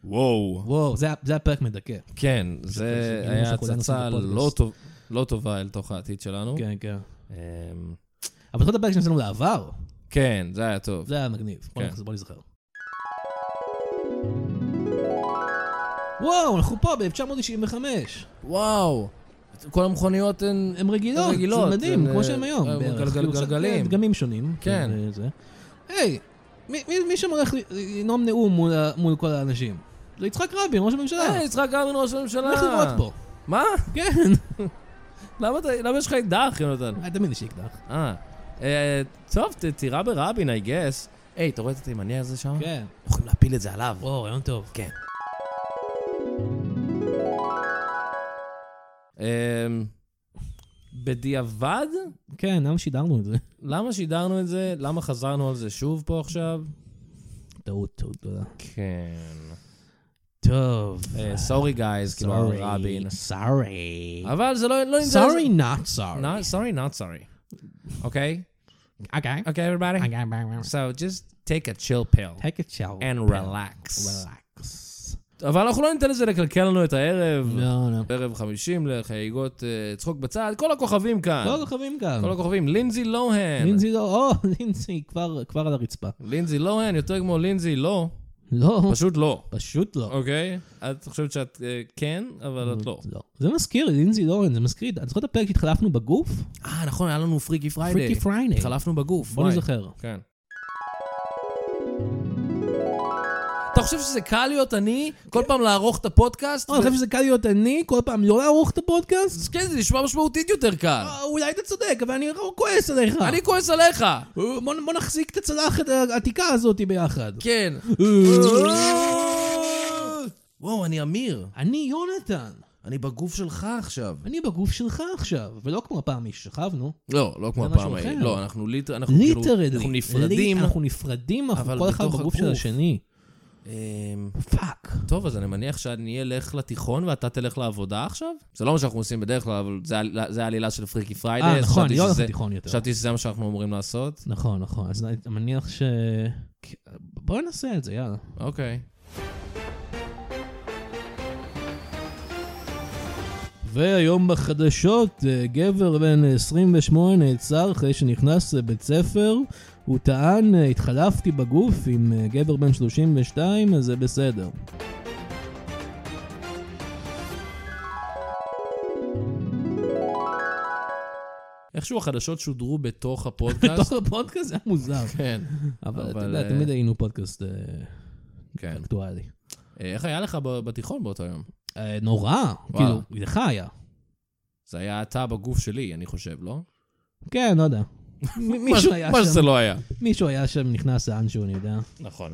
Speaker 1: וואו.
Speaker 2: וואו, זה היה- זה היה פרק מדכא.
Speaker 1: כן, זה
Speaker 2: זה
Speaker 1: היה
Speaker 2: מה שכולנו עושים
Speaker 1: הצצה
Speaker 2: בפודקאסט.
Speaker 1: לא טוב- לא טובה אל תוך העתיד שלנו.
Speaker 2: כן, כן.
Speaker 1: אמ,
Speaker 2: אבל לא זוכר את הפרק שעשינו לעבר?
Speaker 1: כן, זה היה טוב.
Speaker 2: זה היה מגניב. בוא
Speaker 1: כן.
Speaker 2: נח- בוא נזכר. וואו, אנחנו פה ב-1995.
Speaker 1: וואו. כל המכוניות הן...
Speaker 2: הן רגילות,
Speaker 1: הן רגילות,
Speaker 2: זה מדהים,
Speaker 1: הן,
Speaker 2: כמו
Speaker 1: אה,
Speaker 2: שהן היום.
Speaker 1: אה,
Speaker 2: בערך.
Speaker 1: גלגל-
Speaker 2: כאילו,
Speaker 1: גלגלים.
Speaker 2: זה דגמים שונים.
Speaker 1: כן.
Speaker 2: אה, זה. היי, מי- מי- מי שם הולך ל- לנאום נאום מול ה- מול כל האנשים? זה יצחק רבין, ראש הממשלה.
Speaker 1: אה, יצחק רבין ראש הממשלה.
Speaker 2: הולך לבעוט פה.
Speaker 1: מה?
Speaker 2: כן.
Speaker 1: למה אתה- למה יש לך אקדח, יונתן?
Speaker 2: אה, תמיד יש לי אקדח.
Speaker 1: אה. אה, טוב, ת- תירה ברבין, I guess. היי, אתה רואה את התימני הזה שם?
Speaker 2: כן.
Speaker 1: יכולים להפיל את זה עליו. כן.
Speaker 2: וואו, רעיון טוב.
Speaker 1: אמ, בדיעבד,
Speaker 2: כן, למה שידרנו את זה?
Speaker 1: למה שידרנו את זה? למה חזרנו על זה שוב פה עכשיו?
Speaker 2: טעות, טעות גדולה.
Speaker 1: כן.
Speaker 2: טוב.
Speaker 1: אה,
Speaker 2: אה,
Speaker 1: סורי גייז, כאילו על רבין.
Speaker 2: סורי.
Speaker 1: אבל זה לא... לא נמצא-
Speaker 2: סורי, not sorry.
Speaker 1: Not sorry, not sorry. Okay?
Speaker 2: אוקיי.
Speaker 1: Okay, everybody? So just take a chill pill
Speaker 2: take a shower.
Speaker 1: and relax.
Speaker 2: Relax.
Speaker 1: אבל אנחנו לא ניתן לזה לקלקל לנו את הערב.
Speaker 2: לא, לא.
Speaker 1: ערב 50 לחגיגות אה, צחוק בצד, כל הכוכבים כאן.
Speaker 2: כל הכוכבים כאן.
Speaker 1: כל הכוכבים, לינזי לוהן.
Speaker 2: לא, לינזי לא, או, לינזי כבר- כבר על הרצפה.
Speaker 1: לינזי לוהן, יותר כמו לינזי לא,
Speaker 2: לא,
Speaker 1: פשוט לא.
Speaker 2: פשוט לא.
Speaker 1: אוקיי? את חושבת שאת אה, כן, אבל
Speaker 2: Mm.
Speaker 1: את לא.
Speaker 2: זה מזכיר לי, לינזי לורן, זה מזכיר לי, את זוכרת את הפרק שהתחלפנו בגוף?
Speaker 1: אה, נכון, היה לנו פריקי פריידיי.
Speaker 2: פריקי פרייני.
Speaker 1: התחלפנו בגוף.
Speaker 2: בוא
Speaker 1: וואי.
Speaker 2: נזכר. אה,
Speaker 1: כן. אתה חושב שזה קל להיות אני? כל פעם לערוך את הפודקאסט?
Speaker 2: או, כן. לא, אני חושב שזה קל להיות אני, כל פעם לא לערוך את הפודקאסט?
Speaker 1: אז כן, זה נשמע משמעותית יותר קל.
Speaker 2: אה, אולי אתה צודק, אבל אני לא כועס עליך.
Speaker 1: אני כועס עליך.
Speaker 2: אה, בוא בוא נחזיק את הצלחת אה, העתיקה הזאת ביחד.
Speaker 1: כן.
Speaker 2: אה.
Speaker 1: וואו, אני אמיר.
Speaker 2: אני יונתן,
Speaker 1: אני בגוף שלך עכשיו.
Speaker 2: אני בגוף שלך עכשיו, ולא כמו הפעם ששכבנו.
Speaker 1: לא, לא כמו
Speaker 2: זה משהו
Speaker 1: הפעם ההיא.
Speaker 2: אחר.
Speaker 1: לא, אנחנו ליטר... אנחנו כאילו...
Speaker 2: ליטרלי.
Speaker 1: אנחנו נפרדים.
Speaker 2: אנחנו נפרדים, אנחנו
Speaker 1: אבל
Speaker 2: כל אחד
Speaker 1: בתוך
Speaker 2: בגוף של
Speaker 1: הגוף.
Speaker 2: השני. אה,
Speaker 1: אמ,
Speaker 2: פאק.
Speaker 1: טוב, אז אני מניח שאני אלך לתיכון ואתה תלך לעבודה עכשיו? זה לא מה שאנחנו עושים בדרך כלל, אבל זה העל- זה העלילה של פריקי פריידי.
Speaker 2: אה, נכון, אני לא הולך
Speaker 1: שזה-
Speaker 2: לתיכון יותר.
Speaker 1: חשבתי שזה מה שאנחנו אמורים לעשות.
Speaker 2: נכון, נכון, אז אני מניח ש... בואו נעשה את זה, יאללה.
Speaker 1: אוקיי.
Speaker 2: והיום בחדשות, אה, גבר בן 28 נעצר אחרי שנכנס לבית ספר. הוא טען, אה, התחלפתי בגוף עם אה, גבר בן 32, אז זה בסדר.
Speaker 1: איכשהו החדשות שודרו
Speaker 2: [laughs]
Speaker 1: בתוך
Speaker 2: בתוך
Speaker 1: הפודקאסט.
Speaker 2: הפודקאסט זה היה [laughs] מוזר.
Speaker 1: כן.
Speaker 2: אבל אתה
Speaker 1: אבל,
Speaker 2: יודע,
Speaker 1: אה,
Speaker 2: תמיד היינו פודקאסט אה,
Speaker 1: כן.
Speaker 2: אקטואלי.
Speaker 1: אה, איך היה לך ב- בתיכון באותו יום?
Speaker 2: אה, נורא,
Speaker 1: וואלה.
Speaker 2: כאילו, לך היה.
Speaker 1: זה היה אתה בגוף שלי, אני חושב,
Speaker 2: [laughs]
Speaker 1: לא?
Speaker 2: כן, לא יודע. מ- מישהו היה
Speaker 1: מה שזה
Speaker 2: שם,
Speaker 1: לא היה.
Speaker 2: מישהו היה שם, נכנס לאנשהו, אני יודע.
Speaker 1: נכון.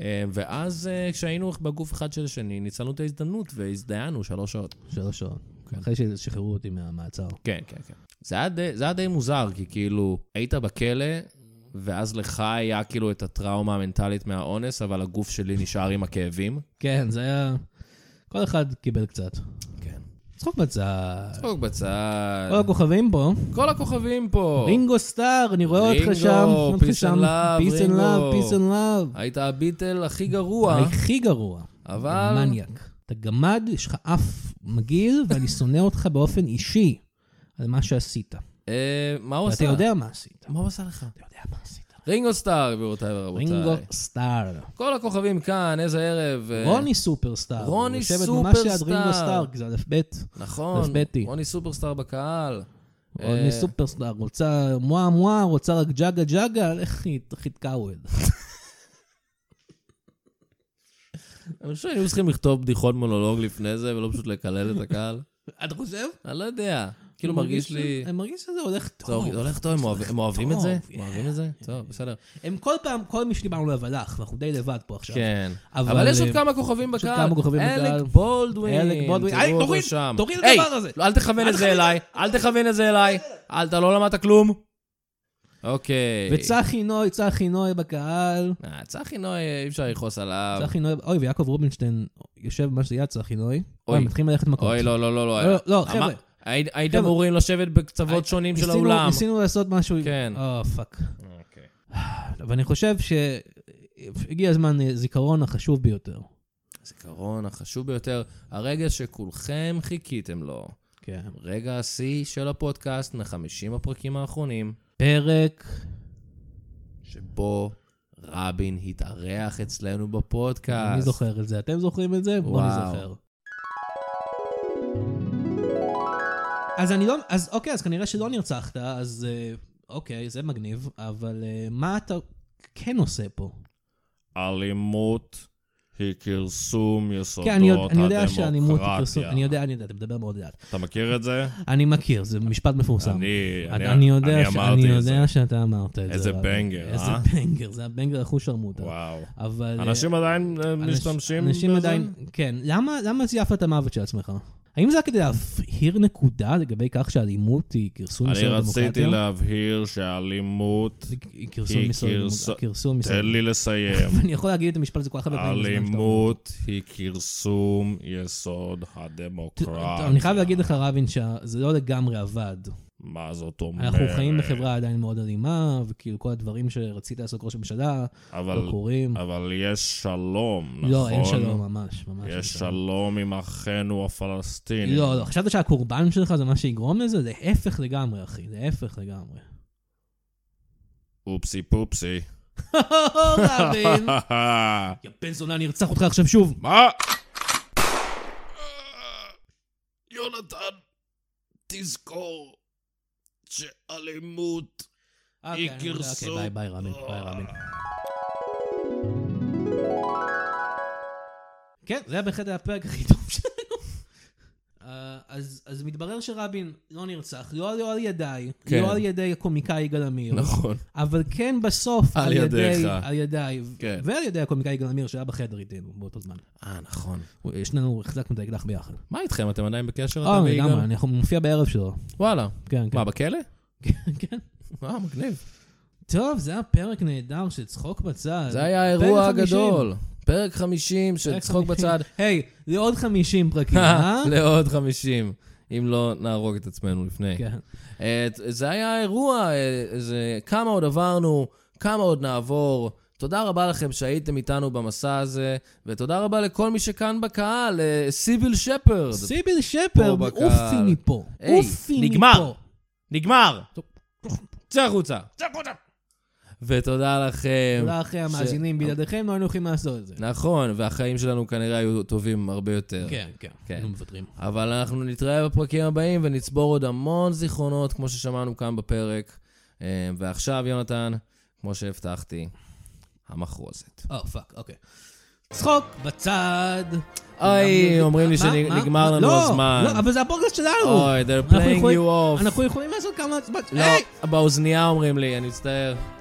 Speaker 1: אה, ואז אה, כשהיינו בגוף אחד של השני, ניצלנו את ההזדמנות והזדיינו שלוש שעות.
Speaker 2: שלוש שעות. אחרי ששחררו אותי מהמעצר.
Speaker 1: כן, כן, כן. זה היה, די, זה היה די מוזר, כי כאילו, היית בכלא, ואז לך היה כאילו את הטראומה המנטלית מהאונס, אבל הגוף שלי נשאר עם הכאבים.
Speaker 2: כן, זה היה... כל אחד קיבל קצת.
Speaker 1: כן.
Speaker 2: צחוק בצד.
Speaker 1: צחוק בצד.
Speaker 2: כל הכוכבים פה.
Speaker 1: כל הכוכבים פה.
Speaker 2: רינגו סטאר, אני רואה אותך שם.
Speaker 1: רינגו, פיס אנד לאב,
Speaker 2: פיס אנד לאב, פיס אנד
Speaker 1: רינגו.
Speaker 2: לאב.
Speaker 1: היית הביטל הכי גרוע,
Speaker 2: הכי גרוע.
Speaker 1: אבל...
Speaker 2: אתה מניאק. אתה גמד, יש לך אף מגעיל, ואני שונא אותך באופן אישי על מה שעשית.
Speaker 1: אה, מה הוא
Speaker 2: ואתה
Speaker 1: עשה?
Speaker 2: יודע מה עשית.
Speaker 1: מה הוא עשה לך?
Speaker 2: אתה יודע מה עשית.
Speaker 1: רינגו סטאר, גבירותיי ורבותיי.
Speaker 2: רינגו סטאר.
Speaker 1: כל הכוכבים כאן, איזה ערב. אה,
Speaker 2: רוני סופרסטאר.
Speaker 1: רוני
Speaker 2: הוא יושבת ממש ליד
Speaker 1: סופרסטאר.
Speaker 2: רינגו סטאר, כי זה א' ב'.
Speaker 1: נכון.
Speaker 2: דפדפתי.
Speaker 1: רוני סופרסטאר בקהל.
Speaker 2: רוני
Speaker 1: אה,
Speaker 2: סופרסטאר, רוצה מואה מואה, רוצה רק ג'אגה ג'אגה, לך ת-
Speaker 1: [laughs]
Speaker 2: תתקעווד.
Speaker 1: אני חושב שהיינו צריכים לכתוב בדיחות מונולוג לפני זה, ולא פשוט לקלל את הקהל.
Speaker 2: אתה חושב?
Speaker 1: אני לא יודע. כאילו מרגיש לי...
Speaker 2: אני מרגיש שזה הולך
Speaker 1: זה
Speaker 2: טוב.
Speaker 1: הולך טוב, הם אוהב- הם אוהבים את זה?
Speaker 2: טוב,
Speaker 1: הם אוהבים את זה? טוב, בסדר.
Speaker 2: הם כל פעם, כל מי שדיברנו עליו הלך, ואנחנו די לבד פה עכשיו.
Speaker 1: כן.
Speaker 2: אבל,
Speaker 1: אבל יש עוד
Speaker 2: אה,
Speaker 1: כמה כוכבים
Speaker 2: יש עוד
Speaker 1: בקהל.
Speaker 2: כמה כוכבים בקהל.
Speaker 1: אלק בולדווין.
Speaker 2: אלק בולדווין.
Speaker 1: תראו
Speaker 2: אי,
Speaker 1: אותו
Speaker 2: תוריד,
Speaker 1: שם.
Speaker 2: תוריד את
Speaker 1: היי,
Speaker 2: הדבר הזה.
Speaker 1: לא, אל תכוון את זה אליי. אל תכוון את זה אליי. אל, אתה לא למדת כלום. אוקיי.
Speaker 2: וצחי נוי, צחי נוי בקהל.
Speaker 1: אה, צחי נוי, אי אפשר לכעוס עליו.
Speaker 2: צחי נוי, אוי, ויעקב רובינשטיין יושב ממש ליד צחי נוי. אוי,
Speaker 1: אוי.
Speaker 2: מתחילים ללכת מכות.
Speaker 1: אוי, לא, לא, לא, לא.
Speaker 2: לא, לא,
Speaker 1: אמר-
Speaker 2: חבר'ה.
Speaker 1: היית- הייתם
Speaker 2: חבר'ה.
Speaker 1: אמורים לשבת בקצוות שונים של
Speaker 2: ניסינו-
Speaker 1: האולם. אוקיי.
Speaker 2: ניסינו לעשות משהו.
Speaker 1: כן.
Speaker 2: אה, פאק. ואני חושב שהגיע הזמן אה, זיכרון החשוב ביותר.
Speaker 1: הזיכרון החשוב ביותר, הרגע שכולכם חיכיתם לו.
Speaker 2: כן.
Speaker 1: רגע השיא של הפודקאסט מ-50 הפרקים האחרונים,
Speaker 2: פרק
Speaker 1: שבו רבין התארח אצלנו בפודקאסט.
Speaker 2: אני זוכר את זה. אתם זוכרים את זה? בואו
Speaker 1: וואו.
Speaker 2: נזכר. אז אני לא... אז אוקיי, אז כנראה שלא נרצחת, אז אה, אוקיי, זה מגניב, אבל אה, מה אתה כן עושה פה?
Speaker 4: אלימות היא כרסום יסודות
Speaker 2: כן, אני, יודע-
Speaker 4: הדמוקרטיה.
Speaker 2: אני יודע שאלימות היא פרסום, אני יודע, אני יודע, אתה מדבר מאוד לאט.
Speaker 4: אתה מכיר את זה?
Speaker 2: אני מכיר, זה משפט מפורסם.
Speaker 4: אני-
Speaker 2: אתה-
Speaker 4: אני-
Speaker 2: אני יודע,
Speaker 4: אני
Speaker 2: ש-
Speaker 4: אמרתי
Speaker 2: אני
Speaker 4: את זה.
Speaker 2: יודע שאתה אמרת את זה.
Speaker 4: איזה
Speaker 2: אבל-
Speaker 4: בנגר,
Speaker 2: איזה
Speaker 4: אה?
Speaker 2: בנגר, זה הבנגר אחוז שרמוטה.
Speaker 4: וואו.
Speaker 2: אבל... אה,
Speaker 4: אנשים עדיין אה,
Speaker 2: אנש-
Speaker 4: משתמשים
Speaker 2: אנשים
Speaker 4: בזה?
Speaker 2: עדיין, כן. למה למה זייפת את המוות של עצמך? האם זה היה כדי להבהיר נקודה לגבי כך שהאלימות היא כרסום
Speaker 4: אני
Speaker 2: מסוים לדמוקרטיה?
Speaker 4: רציתי להבהיר שהאלימות
Speaker 2: היא כרסום
Speaker 4: היא
Speaker 2: מסוים
Speaker 4: כרס-
Speaker 2: לדמוקרטיה. כרסום מסוים.
Speaker 4: תן לי לסיים.
Speaker 2: [laughs] אני יכול להגיד את המשפט הזה כל כך הרבה פעמים. בזמן שאתה אומר.
Speaker 4: אלימות היא כרסום יסוד
Speaker 2: טוב,
Speaker 4: הדמוקרטיה.
Speaker 2: אני חייב להגיד לך, רבין, שזה לא לגמרי עבד.
Speaker 4: מה זאת אומרת?
Speaker 2: אנחנו חיים בחברה עדיין מאוד אלימה, וכאילו כל הדברים שרצית לעשות ראש הממשלה,
Speaker 4: אבל-
Speaker 2: לא קורים.
Speaker 4: אבל יש שלום, נכון?
Speaker 2: לא, אין שלום ממש, ממש. אין
Speaker 4: יש
Speaker 2: שלום.
Speaker 4: שלום עם אחינו הפלסטינים.
Speaker 2: לא, לא, חשבת שהקורבן שלך זה מה שיגרום לזה? זה הפך לגמרי, אחי, זה הפך לגמרי.
Speaker 4: אופסי פופסי. [laughs]
Speaker 1: [laughs]
Speaker 2: רבין, [laughs] יא בן זונה, אני ארצח אותך עכשיו שוב.
Speaker 4: מה?
Speaker 10: יונתן, תזכור שאלימות
Speaker 2: אוקיי,
Speaker 10: היא אה.
Speaker 2: אני יודע, אוקיי,
Speaker 10: כרסום...
Speaker 2: ביי, ביי,
Speaker 1: [laughs]
Speaker 2: רבין, ביי, רבין. כן, זה היה בהחלט היה הפרק הכי טוב [laughs] שלנו. אה, אז, אז מתברר שרבין לא נרצח, לא, לא על ידיי,
Speaker 1: כן.
Speaker 2: לא על ידי הקומיקאי יגאל עמיר,
Speaker 1: נכון.
Speaker 2: אבל כן בסוף
Speaker 1: על
Speaker 2: על, ידי,
Speaker 1: ידיך.
Speaker 2: על ידיי,
Speaker 1: כן.
Speaker 2: ועל ידי הקומיקאי יגאל עמיר שהיה בחדר איתנו באותו זמן.
Speaker 1: אה, נכון.
Speaker 2: הוא- שנינו החזקנו את האקדח ביחד.
Speaker 1: מה איתכם? אתם עדיין בקשר?
Speaker 2: אה,
Speaker 1: אתה ויגאל?
Speaker 2: לגמרי, אני יכול- מופיע בערב שלו.
Speaker 1: וואלה.
Speaker 2: כן, כן.
Speaker 1: מה, בכלא?
Speaker 2: כן.
Speaker 1: אה, מגניב.
Speaker 2: טוב, זה היה פרק נהדר של צחוק בצד.
Speaker 1: זה היה האירוע
Speaker 2: פרק חמישים.
Speaker 1: הגדול. פרק 50 של
Speaker 2: פרק
Speaker 1: צחוק
Speaker 2: חמישים.
Speaker 1: בצד.
Speaker 2: היי, לעוד 50
Speaker 1: [laughs]
Speaker 2: פרקים, אה?
Speaker 1: לעוד 50. אם לא נהרוג את עצמנו לפני.
Speaker 2: כן.
Speaker 1: אה, זה היה האירוע, אה, זה כמה עוד עברנו, כמה עוד נעבור. תודה רבה לכם שהייתם איתנו במסע הזה, ותודה רבה לכל מי שכאן בקהל, אה, סיביל שפרד.
Speaker 2: סיביל שפרד,
Speaker 1: פה בקהל.
Speaker 2: עופי מפה.
Speaker 1: היי,
Speaker 2: עופי מפה.
Speaker 1: נגמר. נגמר! צא החוצה. ותודה לכם.
Speaker 2: תודה לא אחרי
Speaker 1: כן.
Speaker 2: המאזינים, בלעדיכם לא היינו יכולים לעשות את זה.
Speaker 1: נכון, והחיים שלנו כנראה היו טובים הרבה יותר.
Speaker 2: כן, כן.
Speaker 1: כן.
Speaker 2: היינו מוותרים.
Speaker 1: אבל אנחנו נתראה בפרקים הבאים ונצבור עוד המון זיכרונות, כמו ששמענו כאן בפרק. אה, ועכשיו, יונתן, כמו שהבטחתי, המחרוזת.
Speaker 2: או, פאק, אוקיי. צחוק בצד.
Speaker 1: אוי,
Speaker 2: מה?
Speaker 1: אומרים לי
Speaker 2: מה? מה?
Speaker 1: שנגמר לנו
Speaker 2: לא,
Speaker 1: הזמן.
Speaker 2: לא, אבל זה הפודקאסט שלנו.
Speaker 1: אוי, they're
Speaker 2: אנחנו
Speaker 1: playing
Speaker 2: יכולים-
Speaker 1: you off.
Speaker 2: אנחנו יכולים לעשות כמה...
Speaker 1: לא, באוזנייה אומרים לי, אני מצטער.